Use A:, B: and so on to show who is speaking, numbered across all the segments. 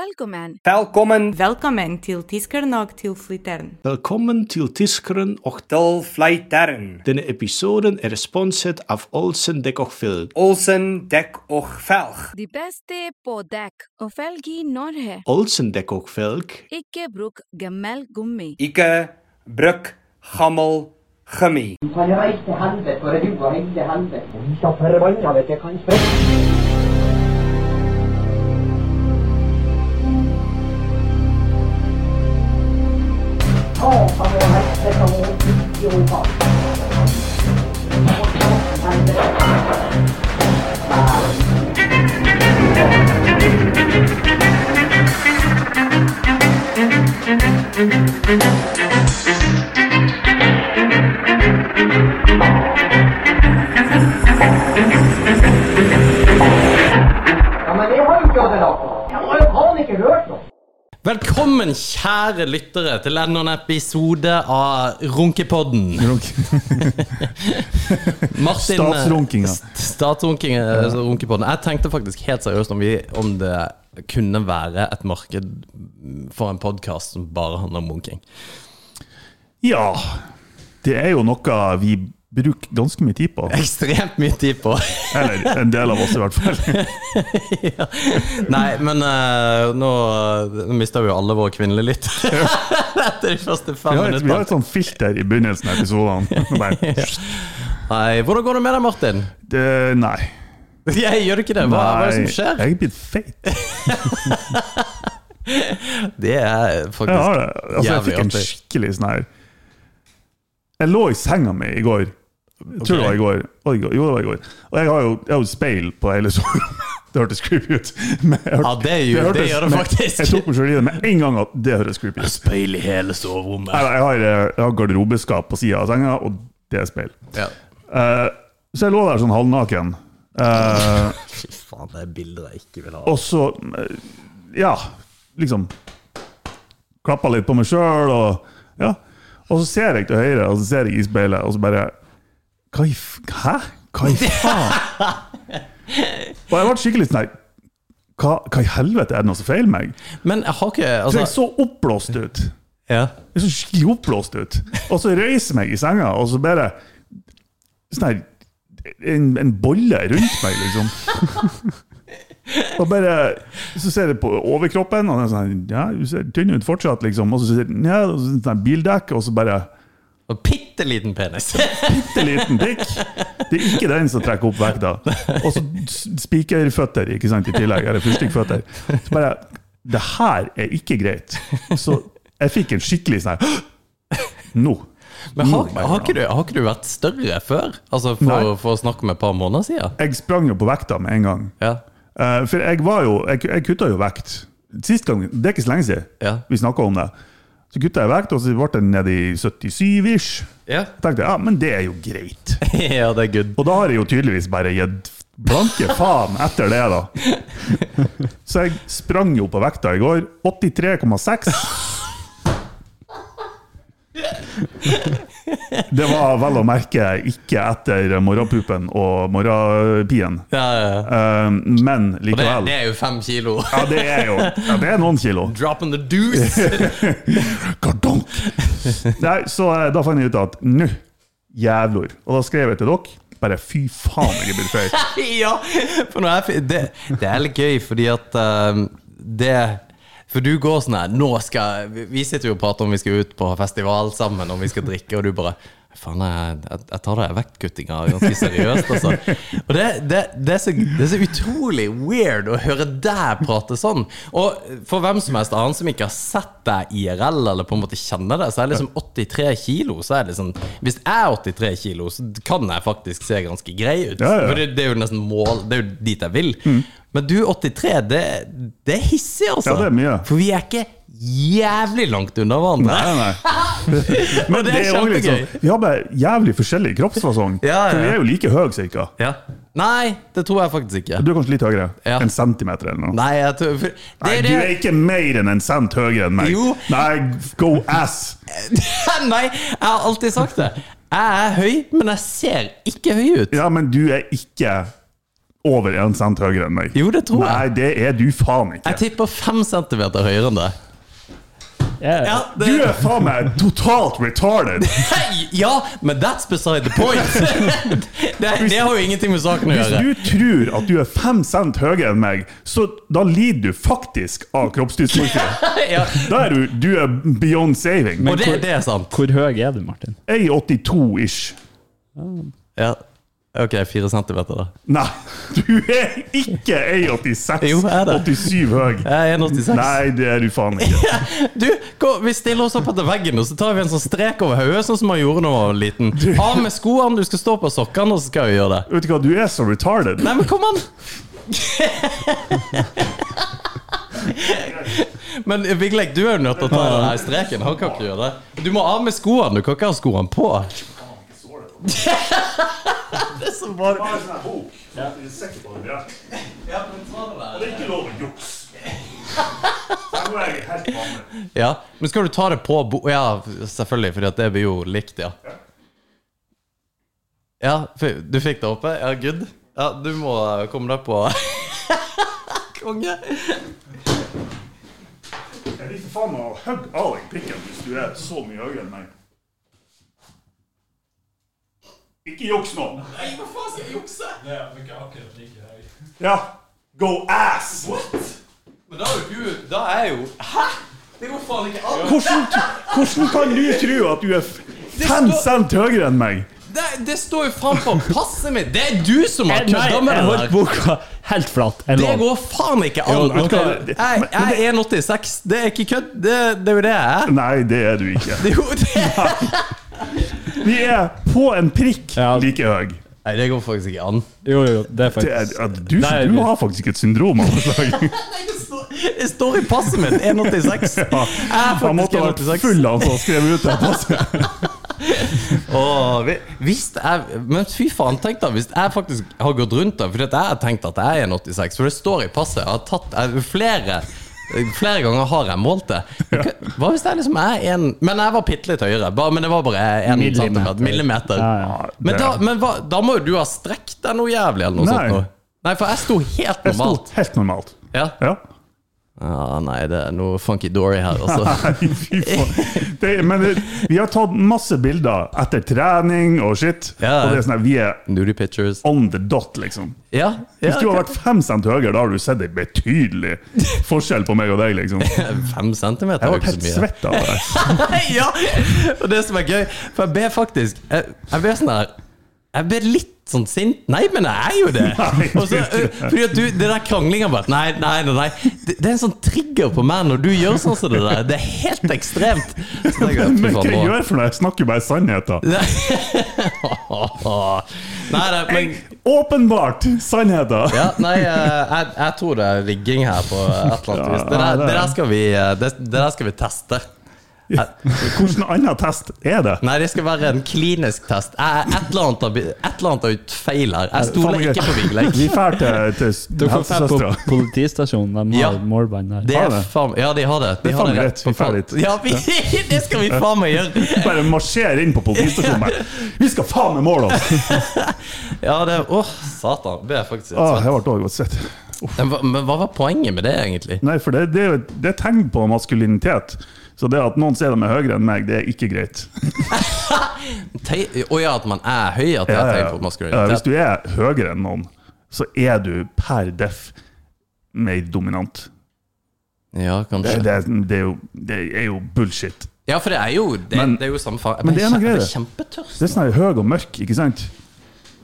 A: Velkommen.
B: Velkommen
C: Velkommen til Tiskernok til Flittern.
D: Velkommen til Tiskeren och
B: til Flytern.
D: denna episoden är sponset av Olsen Däck och Filk.
B: Olsen dek och velg.
A: De beste på dekk og felg i Norge.
D: Olsen Däck och Filk
A: Ikke bruk gammel gummi.
B: Ike, bruk, gammel, gummi.
E: kan reise til helvete, for du har reist til helvete. Vi skal forbanna vet jeg kan sprette. Ja, men jeg har jo ikke hatt det nok. Jeg har jo faen ikke hørt noe.
F: Velkommen, kjære lyttere, til enda en episode av Runkepodden. Martin, eh,
G: Statsrunkinga.
F: St- Statsrunking, eh, altså Runkepodden. Jeg tenkte faktisk helt seriøst om, vi, om det kunne være et marked for en podkast som bare handler om runking.
G: Ja. Det er jo noe vi bruker ganske mye tid på.
F: Ekstremt mye tid på.
G: Eller en del av oss, i hvert fall.
F: ja. Nei, men eh, nå, nå mister vi jo alle våre kvinnelige lyttere etter de første
G: Vi
F: fem
G: har et, vi har
F: minuttene.
G: et sånn filter i begynnelsen av episodene. Bare,
F: Nei, hvordan går det med deg, Martin?
G: det- Nei.
F: Jeg gjør du ikke det? Hva, hva er det som skjer?
G: Nei, Jeg er blitt feit.
F: Det er
G: Jeg
F: faktisk
G: har det. Altså, jeg
F: Jævlig
G: fikk en
F: artig.
G: skikkelig sånn her Jeg lå i senga mi i går. Jeg tror det var i går. Og i går. Jo, det var i går. Og jeg har jo, jeg har jo speil på hele soverommet. Det hørtes creepy ut. Men jeg hørte-
F: Ja, det gjør- det gjør det
G: men
F: faktisk.
G: Jeg tok meg selv i det med en gang at det høres creepy ut.
F: Speil i hele
G: Nei,
F: soverommet.
G: nei, jeg har, jeg har garderobeskap på sida av senga, og det er speil.
F: Ja.
G: Eh, så jeg lå der sånn halvnaken. Eh,
F: Fy faen, det er bilder jeg ikke vil ha.
G: og så eh, Ja, liksom Klappa litt på meg sjøl, og ja. Og så ser jeg til høyre, og så ser jeg i speilet, og så bare Hva i f... Hæ? Hva i faen? og jeg ble skikkelig sånn her hva, hva i helvete er det noe som feiler meg?
F: Men jeg har ikke
G: For jeg
F: altså,
G: så oppblåst ut.
F: ja.
G: Jeg så skikkelig oppblåst ut. Og så reiser jeg meg i senga, og så bare Sånn her en, en bolle rundt meg, liksom. og bare Så ser jeg på overkroppen, og den er sånn her, Ja, du ser tynn ut fortsatt, liksom. Og så ser jeg ja, og så sånn her bildekk, og så bare
F: Og bitte liten penis.
G: Bitte liten pikk. Det er ikke den som trekker opp vekta. Og så s- spikerføtter, ikke sant, i tillegg. Eller fyrstikkføtter. Så bare Det her er ikke greit. Så jeg fikk en skikkelig sånn her Nå.
F: Men har,
G: Nå, bare,
F: har, ikke du, har ikke du vært større før? Altså For,
G: Nei.
F: for å snakke om et par måneder siden?
G: Jeg sprang jo på vekta med en gang.
F: Ja.
G: Eh, for jeg var jo Jeg, jeg kutta jo vekt. Sist gang, Det er ikke så lenge siden
F: Ja.
G: vi snakka om det. Så kutta jeg vekt, og så ble den nede i 77-ish.
F: Ja.
G: Jeg tenkte ja, men det er jo greit.
F: ja, det er good.
G: Og da har jeg jo tydeligvis bare gitt blanke faen etter det, da. Så jeg sprang jo på vekta i går. 83,6. Det var vel å merke ikke etter morgenpupen og morgenpien,
F: Ja, ja, ja.
G: Eh, men
F: Og det,
G: likevel.
F: det er jo fem kilo.
G: Ja, det er jo ja, det er noen kilo.
F: Drop in the deuce!
G: Kardonk! Nei, så eh, da fant jeg ut at nå, jævlor. Og da skrev jeg til dere bare fy faen, jeg er blitt feit.
F: ja! For når jeg, fi- det, det er litt gøy, fordi at ehm, det For du går sånn her Nå skal vi- Vi sitter jo og prater om vi skal ut på festival sammen, og vi skal drikke, og du bare Faen, jeg, jeg, jeg tar det vektkuttinga ganske seriøst, altså. Og det, det, det, er så, det er så utrolig weird å høre deg prate sånn. Og for hvem som helst annen som ikke har sett deg IRL, eller på en måte kjenner deg, så er det liksom 83 kilo. Så er det liksom, hvis jeg er 83 kilo, så kan jeg faktisk se ganske grei ut.
G: Ja, ja.
F: For det, det er jo nesten mål, det er jo dit jeg vil. Men du 83, det, det er hissig, altså.
G: Mm. Ja, det er mye.
F: For vi er ikke jævlig langt unna hverandre.
G: Nei, nei. Men
F: det
G: det
F: er
G: er jo
F: kjempegøy.
G: liksom, vi har bare jævlig forskjellig kroppsfasong.
F: Ja, ja.
G: For vi er jo like høye, cirka.
F: Ja. Nei, det tror jeg faktisk ikke.
G: Du er kanskje litt høyere?
F: Ja.
G: En centimeter eller noe?
F: Nei, jeg tror for, det
G: Nei,
F: er
G: du er
F: det.
G: ikke mer enn en cent høyere enn meg.
F: Jo.
G: Nei, go ass!
F: Nei, jeg har alltid sagt det. Jeg er høy, men jeg ser ikke høy ut.
G: Ja, men du er ikke over 1 cent høyere enn meg.
F: Jo, det tror jeg.
G: Nei, det er du faen ikke.
F: Jeg tipper fem centimeter høyere enn det.
H: Ja.
F: Ja,
G: Du er faen meg totalt retarded!
F: Hei, ja, men that's beside the point! det, det har jo ingenting med saken å
G: Hvis
F: gjøre.
G: du tror at du er 5 cent høyere enn meg, så da lider du faktisk av kroppsdysmorfi.
F: ja,
G: Da er du, du er beyond saving.
F: og det, det er sant.
H: Hvor høy er du, Martin?
G: 1,82-ish.
F: Ja. Ok, fire centimeter, da.
G: Nei, du er ikke 1,86
F: Jo, jeg er det.
G: 87 høy.
F: Jeg er 1,86.
G: Nei, det er du faen ikke.
F: Du, gå, Vi stiller oss opp etter veggen og så tar vi en sånn strek over hodet, sånn som man gjorde da man var liten. Av med skoene, du skal stå på sokkene, og så skal vi gjøre det.
G: Vet du hva, du er så retarded.
F: Nei, men kom an! Men Vigleg, du er jo nødt til å ta den her streken. Han kan ikke gjøre det. Du må av med skoene. Du kan ikke ha skoene på. Det er så bra.
G: sånn Det
F: Ja, men ta det der.
G: er ikke lov å jukse. Nå er jeg helt vanlig.
F: Ja, men skal du ta det på bo... Ja, selvfølgelig, for det blir jo likt, ja. Ja, f- du fikk det oppe? Ja, good. Ja, du må eh, komme deg på Konge!
G: Jeg vil for faen meg å hugge av deg pikken hvis du er så mye høyere enn meg. Ikke juks nå.
F: Nei, hva faen skal jeg jukse?
G: Ja. Go ass!
F: Men da er jo du Da er jo Hæ?! Det går faen ikke an!
G: Hvordan, hvordan kan du tro at du er f- fem
F: står-
G: cent høyere enn meg?
F: Det, det står jo framfor passet mitt! Det er du som har
H: Eh, Nei,
F: kødda
H: jeg
F: med det
H: holdt
F: der!
H: boka helt flat. Jeg
F: Det
H: lå.
F: går faen ikke an!
G: Jo, vet du hva,
F: Jeg,
G: det-
F: jeg er 1,86. Det er ikke kødd. Det, det er jo det jeg er.
G: Nei, det er du ikke.
F: Det er jo det.
G: Vi er på en prikk
H: Ja.
G: like høy.
F: Nei, det går faktisk ikke an.
H: Jo, jo, det er
G: Det er,
H: faktisk
G: at du,
H: Nei,
G: du
H: vi-
G: har faktisk et syndrom av noe slag.
F: Det står- Det står i passet mitt 186. Jeg er
G: Han
F: faktisk
G: måtte ha vært
F: 186.
G: full av han som skrev ut det passet.
F: Åh, vi- hvis jeg, men fy faen, tenk da hvis jeg faktisk har gått rundt det. For jeg har tenkt at jeg er 186, for det står i passet. Jeg har tatt jeg, flere Flere ganger har jeg målt det. Men hva- Hva hvis jeg liksom er en Men jeg var bitte litt høyere. Bare, men det var bare en
H: Millimeter.
F: centimeter. Millimeter.
H: Ja, ja.
F: Men, da, men hva, da må jo du ha strekt deg noe jævlig, eller noe
G: Nei.
F: sånt. Noe. Nei, for jeg sto helt
G: Det sto
F: normalt.
G: helt normalt.
F: Ja.
G: Ja.
F: ja, Ah, nei, det er noe funky dory her, altså.
G: Nei, fy faen. Det, men det, vi har tatt masse bilder etter trening og shit.
F: Ja.
G: Og det er sånn at vi er
F: Nudie pictures.
G: on the dot, liksom.
F: Ja, ja,
G: Hvis du har vært fem cent høyere, da har du sett en betydelig forskjell på meg og deg, liksom. Jeg
F: Fem centimeter er jo
G: ble
F: ikke
G: helt
F: så mye.
G: svett av det.
F: ja! Og det som er gøy, for jeg ber faktisk Jeg, jeg ber sånn her Jeg ber litt sånn sint Nei, men jeg er jo det!
G: Nei,
F: Og så,
G: du er ikke det.
F: eh, fordi at du, det der kranglinga bare Nei, nei, nei. nei. Det, det er en sånn trigger på meg når du gjør sånn som det der. Det er helt ekstremt. Så tenker jeg, fy
G: Men hva
F: faen,
G: jeg
F: nå-
G: gjør for noe? Jeg snakker bare sannheten.
F: Nei, nei, men
G: Åpenbart sannheten!
F: ja, nei, eh, jeg, jeg tror det er rigging her på et eller annet vis. Det
G: Ja,
F: der,
G: det er-
F: det der, skal, vi, eh, det, det der skal vi teste.
G: Hvilken annen test er det?
F: Nei, det skal være en klinisk test. Jeg, et, eller annet, har blitt- et eller annet har gjort feil her. Jeg
G: Faen,
F: stoler
G: jeg-
F: ikke på Vigleik.
G: Vi drar til, til
H: Dere får dra
G: helsesøstera.
H: på politistasjonen. De
F: Ja.
H: har målbånd der.
F: Det er
G: det.
F: faen Ja, de har det. De
G: Det er
F: har
G: faen
F: det
G: greit.
F: rett på
G: Vi får
F: faen.
G: litt.
F: Ja, vi, det skal vi faen meg gjøre!
G: Bare marsjer inn på politistasjonen. bare, Vi skal faen meg måle oss!
F: Ja, det Åh, satan. Det er faktisk
G: Ah,
F: helt
G: jeg ble også godt svett. Uff.
F: svett. Men hva- Men hva var poenget med det, egentlig?
G: Nei, for det, det, er jo et- det er tegn på maskulinitet. Så det at noen ser dem er høyere enn meg, det er ikke greit.
F: Te- Å ja, at man er høy? At det er
G: Ja, ja, ja.
F: tegn på
G: Ja, Eh, hvis
F: maskulinitet?
G: du er høyere enn noen, så er du per def mer dominant.
F: Ja,
G: Det,
F: kanskje.
G: det, er- det, er, jo, det er jo bullshit.
F: Ja, for det er jo Det,
G: Men-
F: det er jo samme faen.
G: men det er noe
F: Jeg ble
G: greier.
F: kjempetørst.
G: Det er sånn her høy og mørk, ikke sant?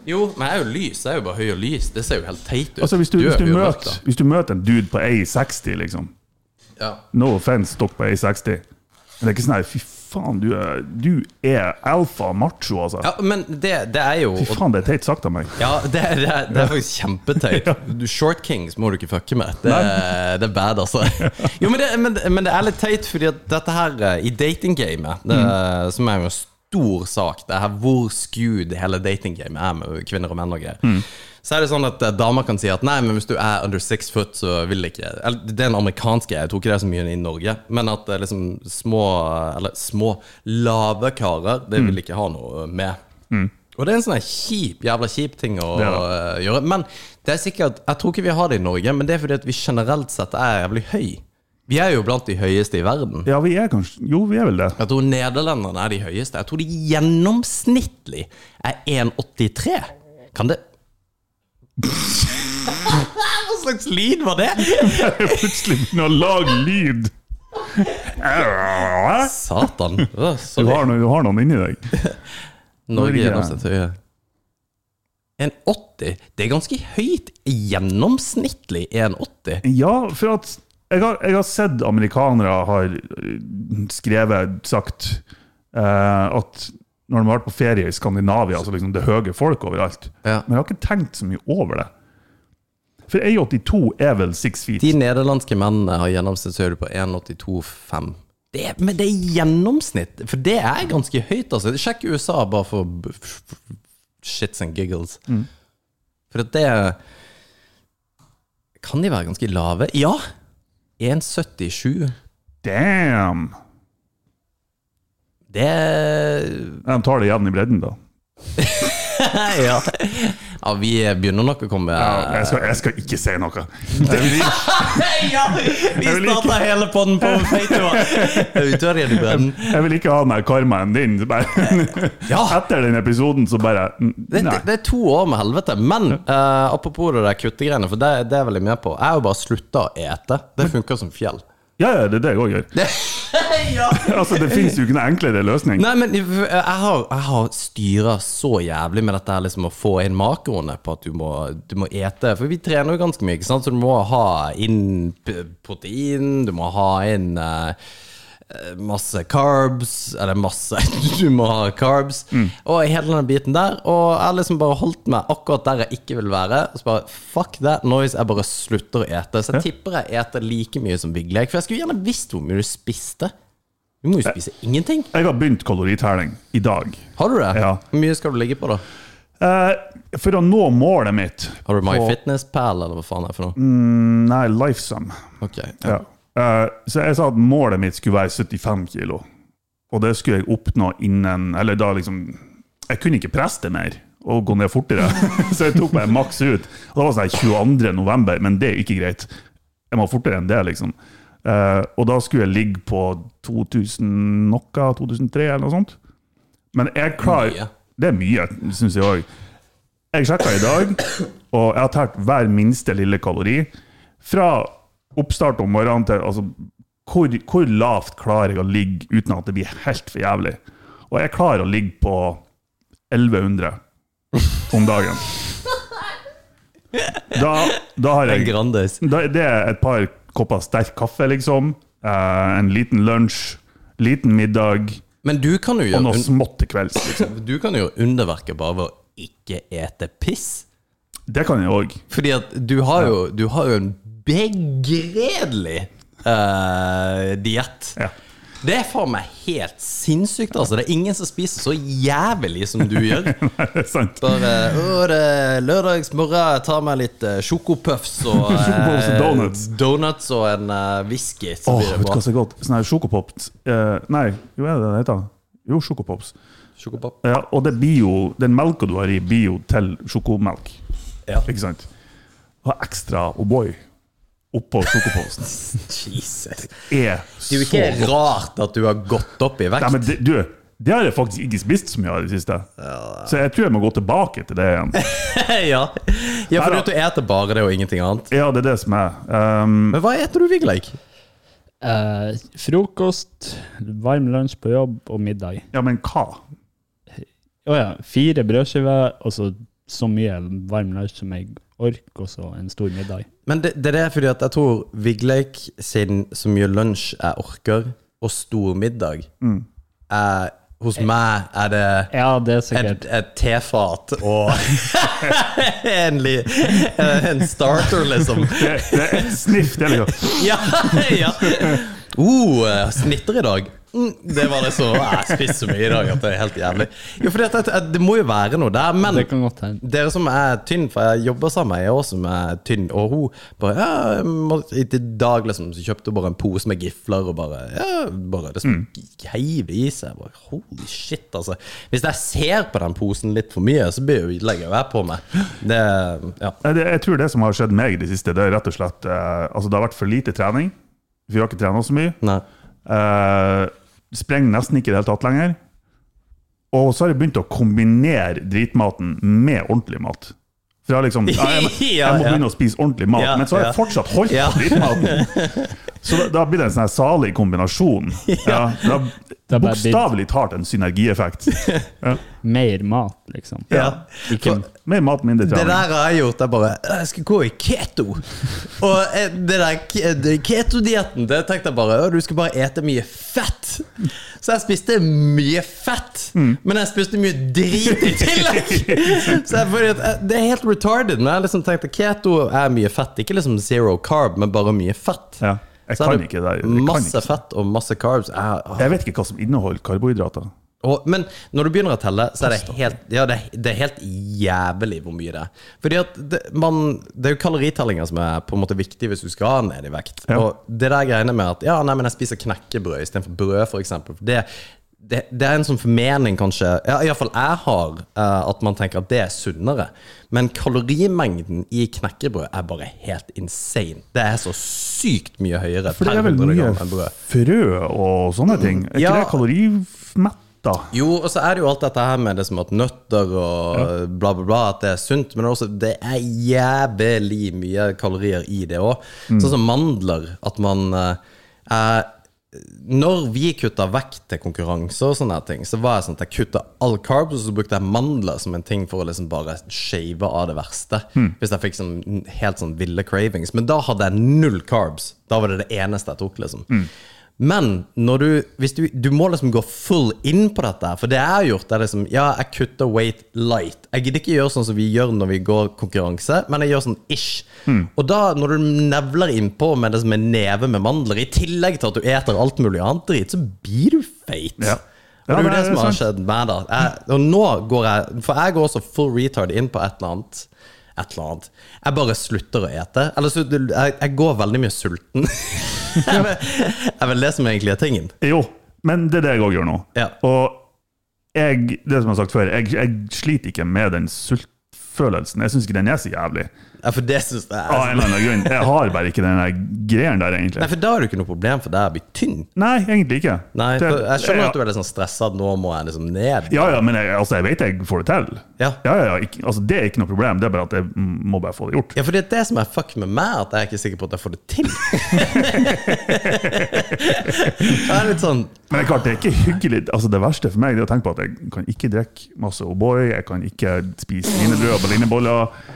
F: Jo, men jeg er jo lys. Jeg er jo bare høy og lys. Det ser jo helt teit ut.
G: Altså, hvis du,
F: er
G: hvis du,
F: jo mørk,
G: møter, hvis du møter en dude på A60, liksom
F: da. Ja.
G: No offense, dere på A60. Men det er ikke sånn her, fy faen, du er, du er alfa macho, altså.
F: Ja, men det, det er jo
G: Fy faen, det er teit sagt av meg.
F: Ja, det, er- det, er- det er faktisk kjempetøyt. Du, Short Kings må du ikke fucke med. Det, er- det er bad, altså. Jo, men det, men, det- men det er litt tøyt, fordi at dette her eh, i datinggamet, det- som er jo en stor sak, det er her hvor skewed hele datinggamet er med kvinner og menn og greier. Så er det sånn at eh, damer kan si at nei, men hvis du er under six foot, så vil ikke Eller det er en amerikansk greie, jeg tror ikke det er så mye i Norge, men at eh, liksom små, eller små, lave karer, det vil ikke ha noe med. Og det er en sånn her kjip, jævla kjip ting å
G: Mm. Det er det.
F: eh, gjøre. Men Det er sikkert, Jeg tror ikke vi har det i Norge, men det er fordi at vi generelt sett er jævlig høy. Vi er jo blant de høyeste i verden.
G: Ja, vi er kanskje Jo, vi er vel det.
F: Jeg tror nederlenderne er de høyeste. Jeg tror de gjennomsnittlig er 1,83. Kan det Hva slags lyd var det?
G: Plutselig begynner å lage lyd.
F: Satan. Å,
G: Du
F: Sorry.
G: har, noe, du har noen inni deg.
F: Norge
G: Norge.
F: gjennomsnittlig høye. En 80? Det er ganske høyt. Gjennomsnittlig 1,80.
G: Ja, for at jeg har, jeg har sett amerikanere har eh, skrevet, sagt eh, at når de har vært på ferie i Skandinavia, så liksom det er høye folk overalt.
F: Ja.
G: Men jeg har ikke tenkt så mye over det. For A82 er vel six feet.
F: De nederlandske mennene har gjennomsnittshøyde på 1,82,5. Det er- Men det er gjennomsnitt, for det er ganske høyt, altså. Sjekk USA bare for b- f- f- shits and giggles. For at det Kan de være ganske lave? Ja! 1,77.
G: Damn!
F: Det er
G: De tar det jevn i bredden, da.
F: ja. ja, vi begynner nok å komme
G: Ja, jeg, skal, jeg skal ikke si noe. Jeg vil ikke,
F: Ja, vi
G: Jeg vil ikke-
F: starter hele podden på feitøva. Utørrede i bredden.
G: jeg vil ikke ha den der karmaen din. så Bare,
F: Ja.
G: etter den episoden så bare n-
F: Det,
G: Nei.
F: det, det er to år med helvete. Men eh, apropos det der kuttegreiene, for det, det er vel jeg med på. Jeg har jo bare slutta å ete. Det funker som fjell.
G: Ja, ja, det er det jeg òg gjør. Altså, Det fins jo ikke noen enklere løsning.
F: Nei, men eh, jeg har, jeg har styra så jævlig med dette her liksom å få inn makroene på at du må, du må ete. For vi trener jo ganske mye, ikke sant? så du må ha inn p- protein, du må ha inn eh, eh, masse carbs Eller masse Du må ha carbs. Og hele den biten der. Og jeg har liksom bare holdt meg akkurat der jeg ikke vil være. Og så bare fuck that noise, jeg bare slutter å ete. Så jeg tipper jeg eter like mye som Big Leg. For jeg skulle gjerne visst hvor mye du spiste. Du må jo spise ingenting.
G: Jeg har begynt kaloritelling i dag.
F: Har du det?
G: Ja.
F: Hvor mye skal du ligge på, da?
G: Eh, for å nå målet mitt
F: Har du MyFitnessPal, eller hva faen er det for noe?
G: Nei, Lifesum.
F: Ok.
G: Ja. Eh, så jeg sa at målet mitt skulle være 75 kilo. Og det skulle jeg oppnå innen Eller da liksom Jeg kunne ikke presse det mer og gå ned fortere, så jeg tok meg maks ut. Og det var sånn her 22. november, men det er ikke greit. Jeg må fortere enn det, liksom. Eh, og da skulle jeg ligge på 2000 noe, 2003 eller noe sånt. Men jeg klarer
F: Mye.
G: Det er mye, syns jeg òg. Jeg sjekka i dag, og jeg har tært hver minste lille kalori. Fra oppstart om morgenen til altså, hvor, hvor lavt klarer jeg å ligge uten at det blir helt for jævlig? Og jeg klarer å ligge på 1100 om dagen. Da, da har
F: En
G: jeg
F: Grandis.
G: da, det er et par kopper sterk kaffe, liksom. Eh, en liten lunsj, liten middag
F: Men du kan jo
G: og
F: gjøre,
G: noe smått til kvelds. Liksom.
F: un- du kan jo gjøre underverket bare ved å ikke ete piss.
G: Det kan jeg òg.
F: Fordi at du har jo, du har jo en begredelig uh, diett.
G: Ja.
F: Det er faen meg helt sinnssykt, altså. Det er ingen som spiser så jævlig som du gjør.
G: Det er sant.
F: Bare Å, det er lørdagsmorgen, jeg tar meg litt eh, sjokopuffs og eh,
G: Sjokopuffs og donuts.
F: donuts og en eh, whisky. Så
G: Åh,
F: blir det
G: vet du hva
F: bra.
G: som er godt? Sånne her sjokopops eh, Nei, jo er det det det heter? Jo, sjokopops.
F: Sjokopopp.
G: Ja, og det blir jo, den melka du har i, blir jo til sjokomelk.
F: Ja.
G: Ikke sant? Og ekstra O'boy oppå sjokopopsen
F: Jesus.
G: er
F: Det er
G: så
F: jo ikke
G: godt.
F: rart at du har gått opp i
G: Nei,
F: vekt.
G: men det, du, det har jeg faktisk ikke spist så mye av i det siste. Så jeg tror jeg må gå tilbake til det igjen.
F: ja. ja, for
G: Neida. Mm.
F: du eter bare det og ingenting annet.
G: Ja, det er det som er. Um,
F: Men hva eter du, Vigleik?
H: Eh, frokost, varm lunsj på jobb og middag.
G: ja, men hva?
H: Å ja, fire brødskiver og så så mye varm lunsj som jeg orker, og så en stor middag.
F: Men det, det er fordi at jeg tror Vigleik sin så mye lunsj jeg orker, og stor middag
G: Mm.
F: er, Hos meg er det
H: Ja, det er
F: et,
H: sikkert.
F: et tefat og en, li, en starter, liksom.
G: Det, det er et sniff. Det er liksom
F: Ja, ja. Uh, snitter i dag. Mm, Det var det så Jeg spiste så mye i dag at det er helt jævlig. Jo, for det, det må jo være noe der, men
H: Det kan godt hende.
F: dere som er tynn, for jeg jobber sammen med ei også som er tynn, og hun bare ja, jeg må, I til dag liksom, så kjøpte hun bare en pose med gifler og bare ja, bare liksom heiv i seg. Jeg Bare, holy shit, altså. Hvis jeg ser på den posen litt for mye, så blir jo legger jo jeg på meg. Det, ja.
G: Nei, eh, det, jeg tror det som har skjedd meg i det siste, det er rett og slett eh, Altså, det har vært for lite trening. Vi har ikke trena så mye.
F: Nei.
G: Eh, sprenger nesten ikke i det hele tatt lenger. Og så har jeg begynt å kombinere dritmaten med ordentlig mat. For jeg har liksom ja, jeg, må-
F: Ja,
G: jeg må
F: ja.
G: begynne å spise ordentlig mat,
F: Ja,
G: men så har jeg
F: ja.
G: fortsatt holdt
F: Ja.
G: på dritmaten. Så da, da blir det en sånn her salig kombinasjon. Ja, det
H: er
G: har
H: bare
G: bokstavelig talt en synergieffekt.
H: Mer mat, liksom.
F: Ja.
H: Ikke
F: For-
G: Mer mat, mindre
F: Det
G: trening.
F: der har jeg gjort. Jeg bare Jeg skal gå i keto. Og eh, det der ke- det- ketodietten, det tenkte jeg bare «Å, Du skal bare ete mye fett. Så jeg spiste mye fett,
G: Mm.
F: men jeg spiste mye drit i tillegg! Så jeg, fordi at, eh, det er helt retarded. Men jeg liksom tenkte keto er mye fett. Ikke liksom zero carb, men bare mye fett.
G: Ja. Jeg
F: Så er
G: kan ikke det. Jeg kan
F: Masse
G: ikke.
F: fett og masse carbs. Jeg,
G: Jeg vet ikke hva som inneholder karbohydrater.
F: og, men når du begynner å telle, så er det helt, ja, det, det er helt jævlig hvor mye det er. Fordi at det, man, det er jo kaloritellinga som er på en måte viktig hvis du skal ned i vekt.
G: Ja.
F: Og det der greiene med at ja, nei, men jeg spiser knekkebrød istedenfor brød, for eksempel. Det, det, det er en sånn formening, kanskje, ja, iallfall jeg har, eh, at man tenker at det er sunnere. Men kalorimengden i knekkebrød er bare helt insane. Det er så sykt mye høyere
G: For det er vel
F: 100
G: mye
F: gram enn brød.
G: frø og sånne ting. Er ikke
F: Ja.
G: det kalorimetta?
F: Jo, og så er det jo alt dette her med det som at nøtter og bla, bla, bla, at det er sunt, men også det er jævlig mye kalorier i det òg. Sånn som mandler, at man eh, eh, Når vi kutta vekt til konkurranser og sånne her ting, så var jeg sånn at jeg kutta all carbs, og så brukte jeg mandler som en ting for å liksom bare shave av det verste. Hvis jeg fikk sånn helt sånn ville cravings. Men da hadde jeg null carbs. Da var det det eneste jeg tok, liksom. Men når du, hvis du, du må liksom gå full inn på dette. her, For det jeg har gjort, er liksom Ja, jeg kutter weight light. Jeg gidder ikke gjøre sånn som vi gjør når vi går konkurranse, men jeg gjør sånn ish.
G: Hmm.
F: Og da, når du nevler innpå med det som en neve med mandler, i tillegg til at du eter alt mulig annet drit, så blir du feit.
G: Ja.
F: Og det er
G: Ja,
F: jo det
G: det er
F: som har
G: sant.
F: skjedd meg, da. Jeg, og nå går jeg For jeg går også full retard inn på et eller annet. Et eller annet. Jeg bare slutter å ete. Eller så, jeg, jeg går veldig mye sulten. Det er vel- det er vel det som egentlig er tingen.
G: Jo, men det er det jeg òg gjør nå.
F: Ja.
G: Og jeg, det som jeg har sagt før, jeg, jeg sliter ikke med den sultfølelsen. Jeg syns ikke den er så jævlig.
F: Ja, for det synes jeg sånn-
G: Av en eller annen grunn. Jeg har bare ikke den der greien der,
F: Nei,
G: egentlig.
F: for da er det jo ikke noe problem for deg å bli tynn.
G: Nei, egentlig ikke.
F: Nei,
G: Det-
F: for Jeg skjønner
G: ja.
F: at du er litt sånn stressa at nå må jeg liksom ned.
G: ja, ja, men jeg, altså, jeg vet jeg får det til.
F: Ja.
G: ja, ja, ja, ikke, altså, det er ikke noe problem, det er bare at jeg må bare få det gjort.
F: Ja, for det er det som er fuck med meg, at jeg er ikke sikker på at jeg får det til. det er litt sånn
G: Men det er klart, det er ikke hyggelig. Altså, det verste for meg det er å tenke på at jeg kan ikke drikke masse O'boy, jeg kan ikke spise wienerbrød og berlinerboller.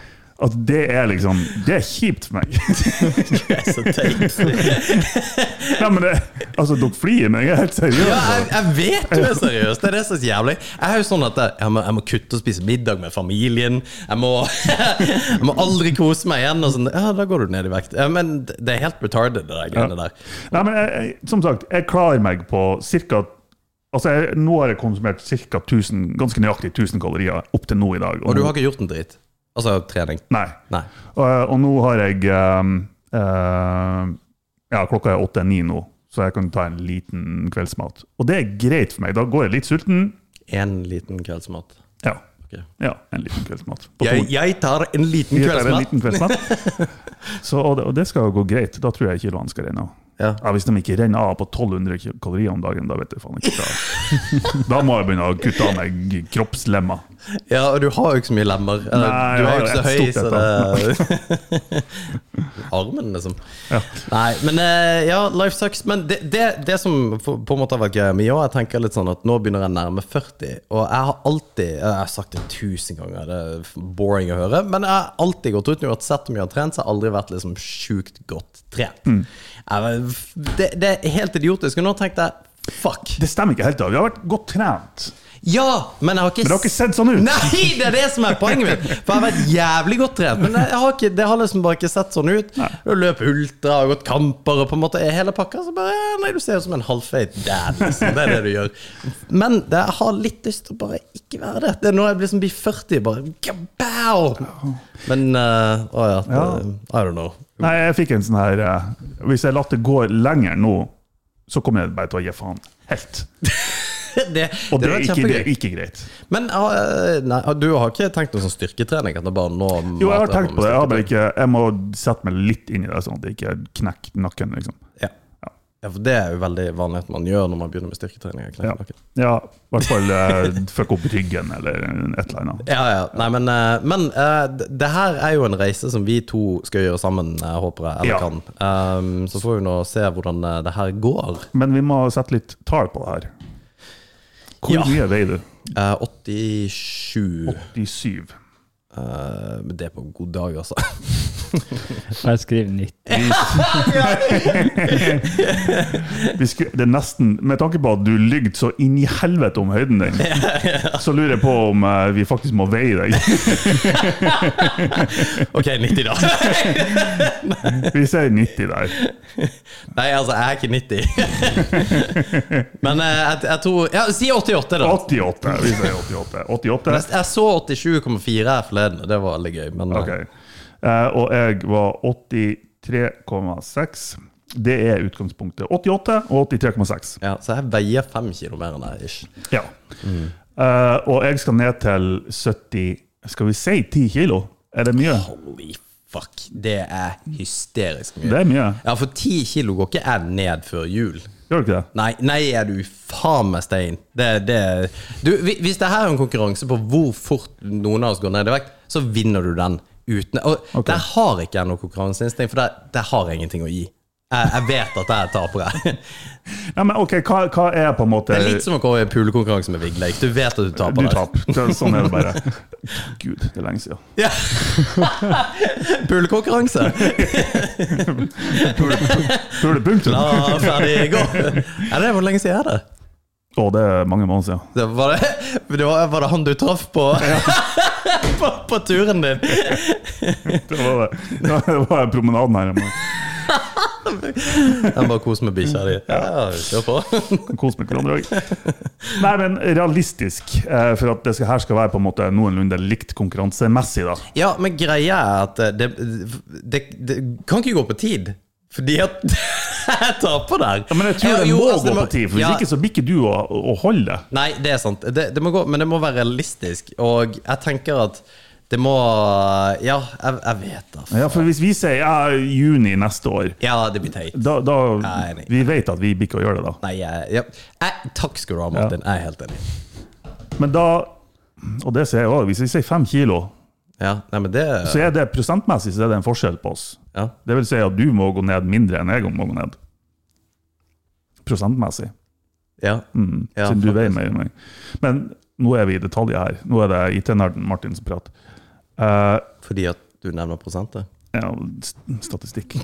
G: At det er liksom Det er kjipt for meg.
F: så teit.
G: Nei, men det, altså, dere flirer, men jeg er helt seriøs.
F: Ja, jeg, jeg vet du er seriøs. Det er det som er så jævlig. Jeg er jo sånn at jeg, jeg, må, jeg må kutte og spise middag med familien. Jeg må, jeg må aldri kose meg igjen. Og sånn, ja, da går du ned i vekt. Ja, men det er helt retarded, det der greiene der.
G: Nei, men jeg, jeg, som sagt, jeg klarer meg på cirka Altså, jeg, Nå har jeg konsumert cirka 1000, ganske nøyaktig 1000 kalorier opp til nå i dag.
F: Og du har ikke gjort en dritt? Altså trening?
G: Mm. Nei.
F: Nei.
G: Og, og nå har jeg ehm, ehm, Ja, klokka er åtte-ni nå, så jeg kan ta en liten kveldsmat. Og det er greit for meg. Da går jeg litt sulten.
F: En liten kveldsmat.
G: Ja,
F: Ok.
G: ja en liten kveldsmat. På
F: Jeg,
G: to-
F: jeg tar en liten
G: Jeg tar en
F: kveldsmat.
G: liten kveldsmat. Så, og, det, og det skal jo gå greit. Da tror jeg kiloene skal renne av.
F: Ja.
G: Ja, hvis de ikke renner av på 1200 kil- kalorier om dagen, da vet jeg faen ikke hva Da må jeg begynne å kutte av meg kroppslemmer.
F: Ja, og du har jo ikke så mye lemmer. Eller,
G: Nei,
F: du
G: jeg
F: er
G: har
F: jo ikke så høy,
G: et
F: så
G: stort
F: det Armen, liksom. Nei, men eh, ja, life sucks. Men det, det, det som på på en måte har vært greia mi òg, jeg tenker litt sånn at nå begynner jeg nærme 40, og jeg har alltid Jeg har sagt det tusen ganger, det er f- boring å høre, men jeg har alltid gått ut uansett om jeg har trent, så har jeg aldri vært
G: Mm.
F: liksom sjukt godt trent. Jeg var- det, det er helt idiotisk. Og nå tenkte jeg Fuck.
G: Det stemmer ikke helt. da. Vi har vært godt trent.
F: Ja, men jeg har ikke
G: Men det har ikke sett sånn ut.
F: Nei, det er det som er poenget mitt! For jeg har vært jævlig godt trent, men jeg har ikke, det har liksom bare ikke sett sånn ut. Du løp ultra, har gått kamper og på en måte er hele pakka, så bare ja, Nei, du ser ut som en halvfeit dad, liksom. Det er det du gjør. Men det, jeg har litt lyst til å bare ikke være det. Det er nå jeg liksom blir 40, bare kabow! Men eh, Å ja. Det,
G: Ja.
F: I don't know.
G: Nei, jeg fikk en sånn her eh, Hvis jeg lar det gå lenger nå, så kommer jeg bare til å gi faen. Helt.
F: Det,
G: Og det
F: var
G: er ikke, det
F: kjempegøy.
G: er ikke greit.
F: Men eh, nei, du har ikke tenkt noe sånn styrketrening? At det bare nå
G: Jo, jeg har tenkt på det. Jeg, har bare ikke, jeg må sette meg litt inn i det, sånn at jeg ikke knekker nakken. liksom.
F: Ja. ja, for det er jo veldig vanlig at man gjør når man begynner med styrketrening. å
G: Ja,
F: knekke nakken.
G: ja i hvert fall eh, fuck opp ryggen eller et eller annet.
F: Ja, ja. Nei, men, eh, men eh, d- det her er jo en reise som vi to skal gjøre sammen, jeg håper jeg, eller
G: Ja.
F: kan. Ehm, så får vi nå se hvordan eh, det her går.
G: Men vi må sette litt tall på det her. Hvor
F: Ja.
G: mye veier du?
F: Eh, 87
G: 87.
F: Eh, Det er på god dag, altså.
H: Jeg skriver 90.
G: Vi skulle, det er nesten, med tanke på at du lygde så inn i helvete om høyden din, så lurer jeg på om eh, vi faktisk må veie deg.
F: Ok, 90 da.
G: Vi sier 90 der.
F: Nei, altså, jeg er ikke 90. Men eh, jeg, jeg tror Ja, si 88, da.
G: 88. Vi sier 88. 88.
F: Jeg, jeg så 87,4 her forleden, og det var veldig gøy. Men eh,
G: Ok. Eh, og jeg var 83,6. Det er utgangspunktet. 88 og 83,6.
F: ja, så jeg veier fem kilo mer enn deg, ish.
G: Ja. Eh, og jeg skal ned til 70 Skal vi si 10 kilo? Er det mye?
F: Holy fuck, det er hysterisk mye.
G: Det er mye.
F: Ja, for ti kilo går ikke jeg ned før jul.
G: Gjør du ikke det?
F: Nei, nei, er du faen meg stein. Det, det. Du, hvi- hvis det her er en konkurranse på hvor fort noen av oss går ned i vekt, så vinner du den uten Og der har ikke jeg noe konkurranseinstinkt, for der, der har jeg ingenting å gi. Jeg, jeg vet at jeg er taper.
G: Ja, men ok, hva, hva er på en måte
F: Det er litt som å gå i pulekonkurranse med Vigleik. Du vet at du taper.
G: Du
F: der.
G: taper. Så- Sånn er det bare. Gud, det er lenge siden.
F: Ja. Pulekonkurranse!
G: Tror du punktum?
F: La
G: Å,
F: Ah, ferdig gå! Er det hvor lenge siden er det?
G: det er mange måneder siden.
F: Det var, det, det var, var det han du traff på, på, på turen din?
G: Det var, det. det var promenaden her. Jeg
F: Han bare koser med bikkja di. Ja, kjør på.
G: må kose meg hverandre også. Nei, men realistisk, eh, for at det skal, her skal være på en måte noenlunde likt konkurransemessig, da.
F: Ja, men greia er at eh, det, det, det kan ikke gå på tid. Fordi at jeg taper der.
G: Ja, men jeg tror det
F: jo,
G: må
F: altså,
G: gå
F: må-
G: på tid, for hvis
F: ja,
G: ikke så blir ikke du å, å holde det.
F: Nei, det er sant. Det, det må gå, men det må være realistisk. Og jeg tenker at det må Ja, jeg, jeg vet da.
G: Ja, for hvis vi sier ja, juni neste år,
F: Ja, det blir teit.
G: da, da
F: Nei, nei.
G: Vi vet at vi blir ikke å gjøre det, da.
F: Nei, jeg, ja. jeg, takk skal du ha, Martin. Jeg er helt enig.
G: Men da Og det sier jeg òg. Hvis vi sier fem kilo,
F: Ja, nei, men det
G: så er det prosentmessig så er det en forskjell på oss.
F: ja.
G: Det vil si at du må gå ned mindre enn jeg må gå ned. Prosentmessig.
F: Ja.
G: Mm.
F: Ja,
G: Siden du
F: faktisk.
G: veier mer enn meg. Men nå er vi i detaljer her. Nå er det IT-nerden Martin som prater. Eh,
F: Fordi at du nevner prosentet?
G: ja, st- statistikk.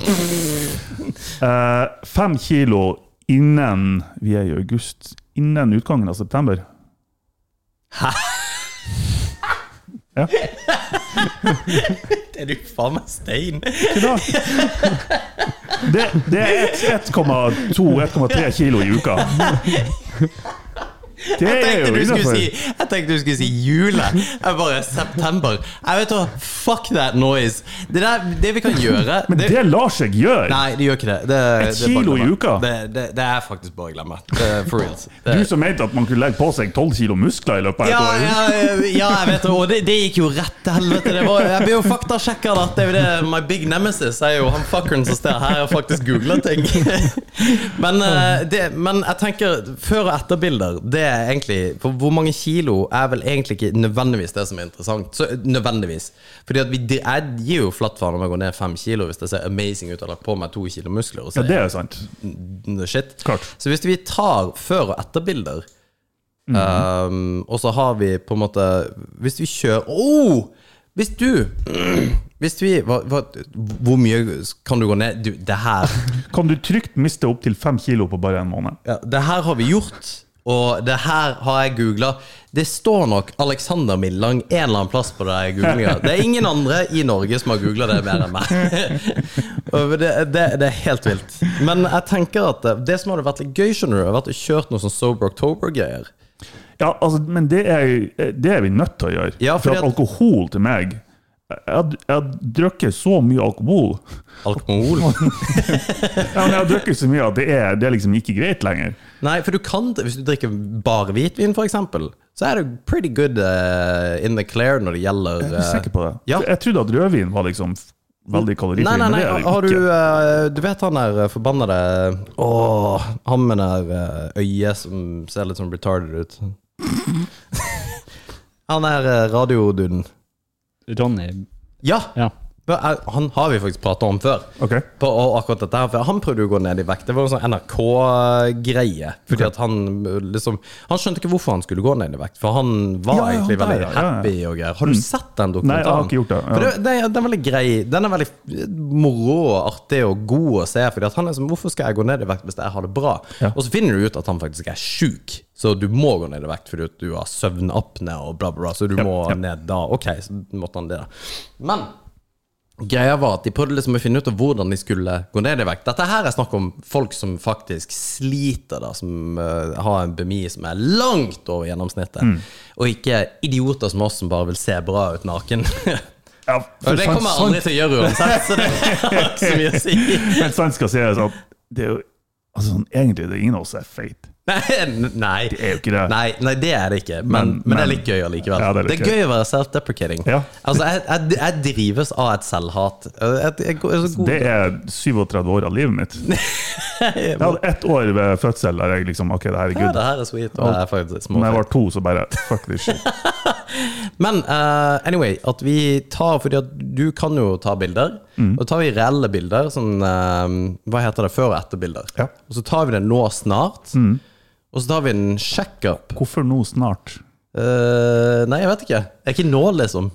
G: Eh, fem kilo innen Vi er i august. Innen utgangen av september.
F: Det er du faen meg stein!
G: Ikke da? Det, det er et- 1,2-1,3 kilo i uka. Det
F: Jeg
G: er
F: tenkte,
G: jo
F: du skulle si,
G: innafor.
F: jeg tenkte du skulle si jule. Jeg bare september. Jeg vet hva, Fuck that noise! Det, der, det vi kan gjøre
G: Men det lar seg gjøre!
F: Nei, det gjør ikke det. det det
G: Et
F: er bare
G: kilo i
F: glemme.
G: uka?
F: Det, det, det er faktisk bare å glemme. Det er For reals. Det,
G: Du som mente at man kunne legge på seg 12 kilo muskler i løpet av et
F: ja,
G: år.
F: ja, ja, jeg vet det. Og det, det gikk jo rett til helvete. Det var, jeg ble jo faktasjekka. da. Det er jo det My big nemesis er jo han fuckeren som står her og faktisk googler ting. Men, eh, det, men jeg tenker før- og etterbilder, det er egentlig For hvor mange kilo er vel egentlig ikke nødvendigvis det som er interessant. Så nødvendigvis. Fordi at vi, jeg gir jo flatt faen om jeg går ned fem kilo hvis det ser amazing ut og har lagt på meg to kilo muskler. Og så
G: Ja, det er jo sant.
F: the shit.
G: Klart.
F: Så hvis vi tar før- og etterbilder, ehm, um, og så har vi på en måte Hvis vi kjører oh! Hvis du Hvis vi hva, hva, Hvor mye kan du gå ned? Du, det her
G: Kan du trygt miste opptil fem kilo på bare en måned?
F: ja, Det her har vi gjort, og det her har jeg googla. Det står nok Alexander Millang en eller annen plass på det googlinga. Det er ingen andre i Norge som har googla det mer enn meg. Og det, det, det er helt vilt. Men jeg tenker at det, det som hadde vært litt gøy, skjønner du, hadde vært å kjøre noe sånn Sober October-greier.
G: Ja, altså, men det er, det er vi nødt til å gjøre.
F: Ja,
G: for
F: fordi
G: at
F: at-
G: alkohol til meg Jeg har- jeg har drukket så mye alkohol.
F: Alkohol.
G: Ja, men jeg har drukket så mye at det er, det er liksom ikke greit lenger.
F: Nei, for du kan det Hvis du drikker bare hvitvin, for eksempel, så er du pretty good eh, in the clear når det gjelder
G: Jeg er
F: eh,
G: sikker på det.
F: Ja.
G: Jeg trodde at rødvin var liksom f- veldig kalorifri.
F: Nei, nei,
G: men
F: nei,
G: det er det jo
F: har du
G: ikke.
F: eh, Du vet han der eh, forbannede Åh, han med det eh, øyet som ser litt sånn retarded ut. han der eh, radioduden.
H: Ronny
F: Ja!
H: Ja.
F: men, eh, Han har vi faktisk prata om før.
G: Ok.
F: På og akkurat dette her, for Han prøvde jo å gå ned i vekt. Det var en sånn NRK-greie. Fordi at Han liksom Han skjønte ikke hvorfor han skulle gå ned i vekt, for han var
G: Ja, ja,
F: egentlig
G: han der,
F: veldig
G: ja, ja.
F: happy og greier. Har du sett den
G: Nei, jeg har
F: dokumentaren?
G: ikke gjort det, ja.
F: For det, det, den er veldig grei. Den er veldig moro og artig og god å se. Fordi at han er som, Hvorfor skal jeg gå ned i vekt hvis jeg har det bra?
G: Ja.
F: Og så finner du ut at han faktisk er sjuk, så du må gå ned i vekt fordi at du har søvnapne og bla, bla, bla. Så du må ned da. Ok, så måtte han det, da. Men Greia var at de prøvde liksom å finne ut av hvordan de skulle gå ned i vekt. Dette her er snakk om folk som faktisk sliter, da, som eh, har en BMI som er langt over gjennomsnittet. Og ikke idioter som oss som bare vil se bra ut naken.
G: Ja, for
F: Og det
G: sant-
F: kommer jeg aldri
G: sant-
F: til å gjøre uansett, så det har ikke så mye å si.
G: Men sant skal sies at det er jo altså, sånn, Egentlig det er ingen av oss som er feit.
F: Nei, n- nei.
G: Det er jo ikke det.
F: Nei, nei, det er det ikke, men, men,
G: Men-
F: det er
G: men-
F: litt gøy allikevel.
G: Ja,
F: det,
G: det er
F: er
G: litt
F: gøy å være self-deprecating.
G: Ja.
F: Altså, jeg, jeg, jeg drives av et selvhat. Jeg, jeg, jeg, er så god-
G: Det er 37 år av livet mitt. Jeg hadde ett år ved fødsel der jeg liksom OK, det her er
F: ja,
G: good.
F: det her er sweet. Og det er faktisk
G: Når jeg
F: småfett.
G: var to, så bare Fuck this shit.
F: Men eh, anyway, at vi tar Fordi at du kan jo ta bilder.
G: Mm.
F: Og da tar vi reelle bilder, sånn eh, Hva heter det? Før- og etterbilder.
G: Ja. Mm.
F: Og så tar vi det nå snart. Og så tar vi en sjekkup.
G: Hvorfor nå snart?
F: Eh, nei, jeg vet ikke. Det er ikke nå,
G: Mm.
F: liksom.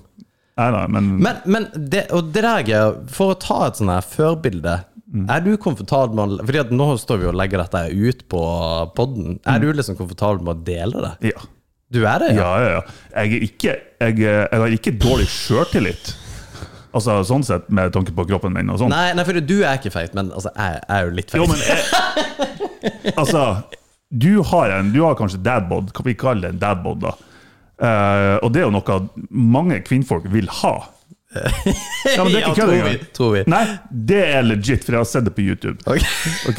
G: Nei, nei, men
F: Men, men det, og det der er For å ta et sånn her førbilde
G: Mm.
F: Er du komfortabel med å Fordi at nå står vi og legger dette ut på podden. Er du liksom komfortabel med å dele det?
G: Mm. ja.
F: Du er det?
G: Ja, ja, ja. Jeg, er ikke, jeg, er- jeg har ikke dårlig sjøltillit. Altså sånn sett, med tanke på kroppen min og sånn.
F: Nei, nei, for du er ikke feit, men altså, jeg, jeg er jo litt feit.
G: Jo, men jeg, Altså, du har, en, du har kanskje dadbod. Kan vi kalle det en dadbod, da? Eh, og det er jo noe mange kvinnfolk vil ha. Ja, men det er
F: Ja,
G: ikke kødd
F: tror vi,
G: engang.
F: tror vi.
G: Nei, det er legit, for jeg har sett det på YouTube.
F: Ok.
G: Ok?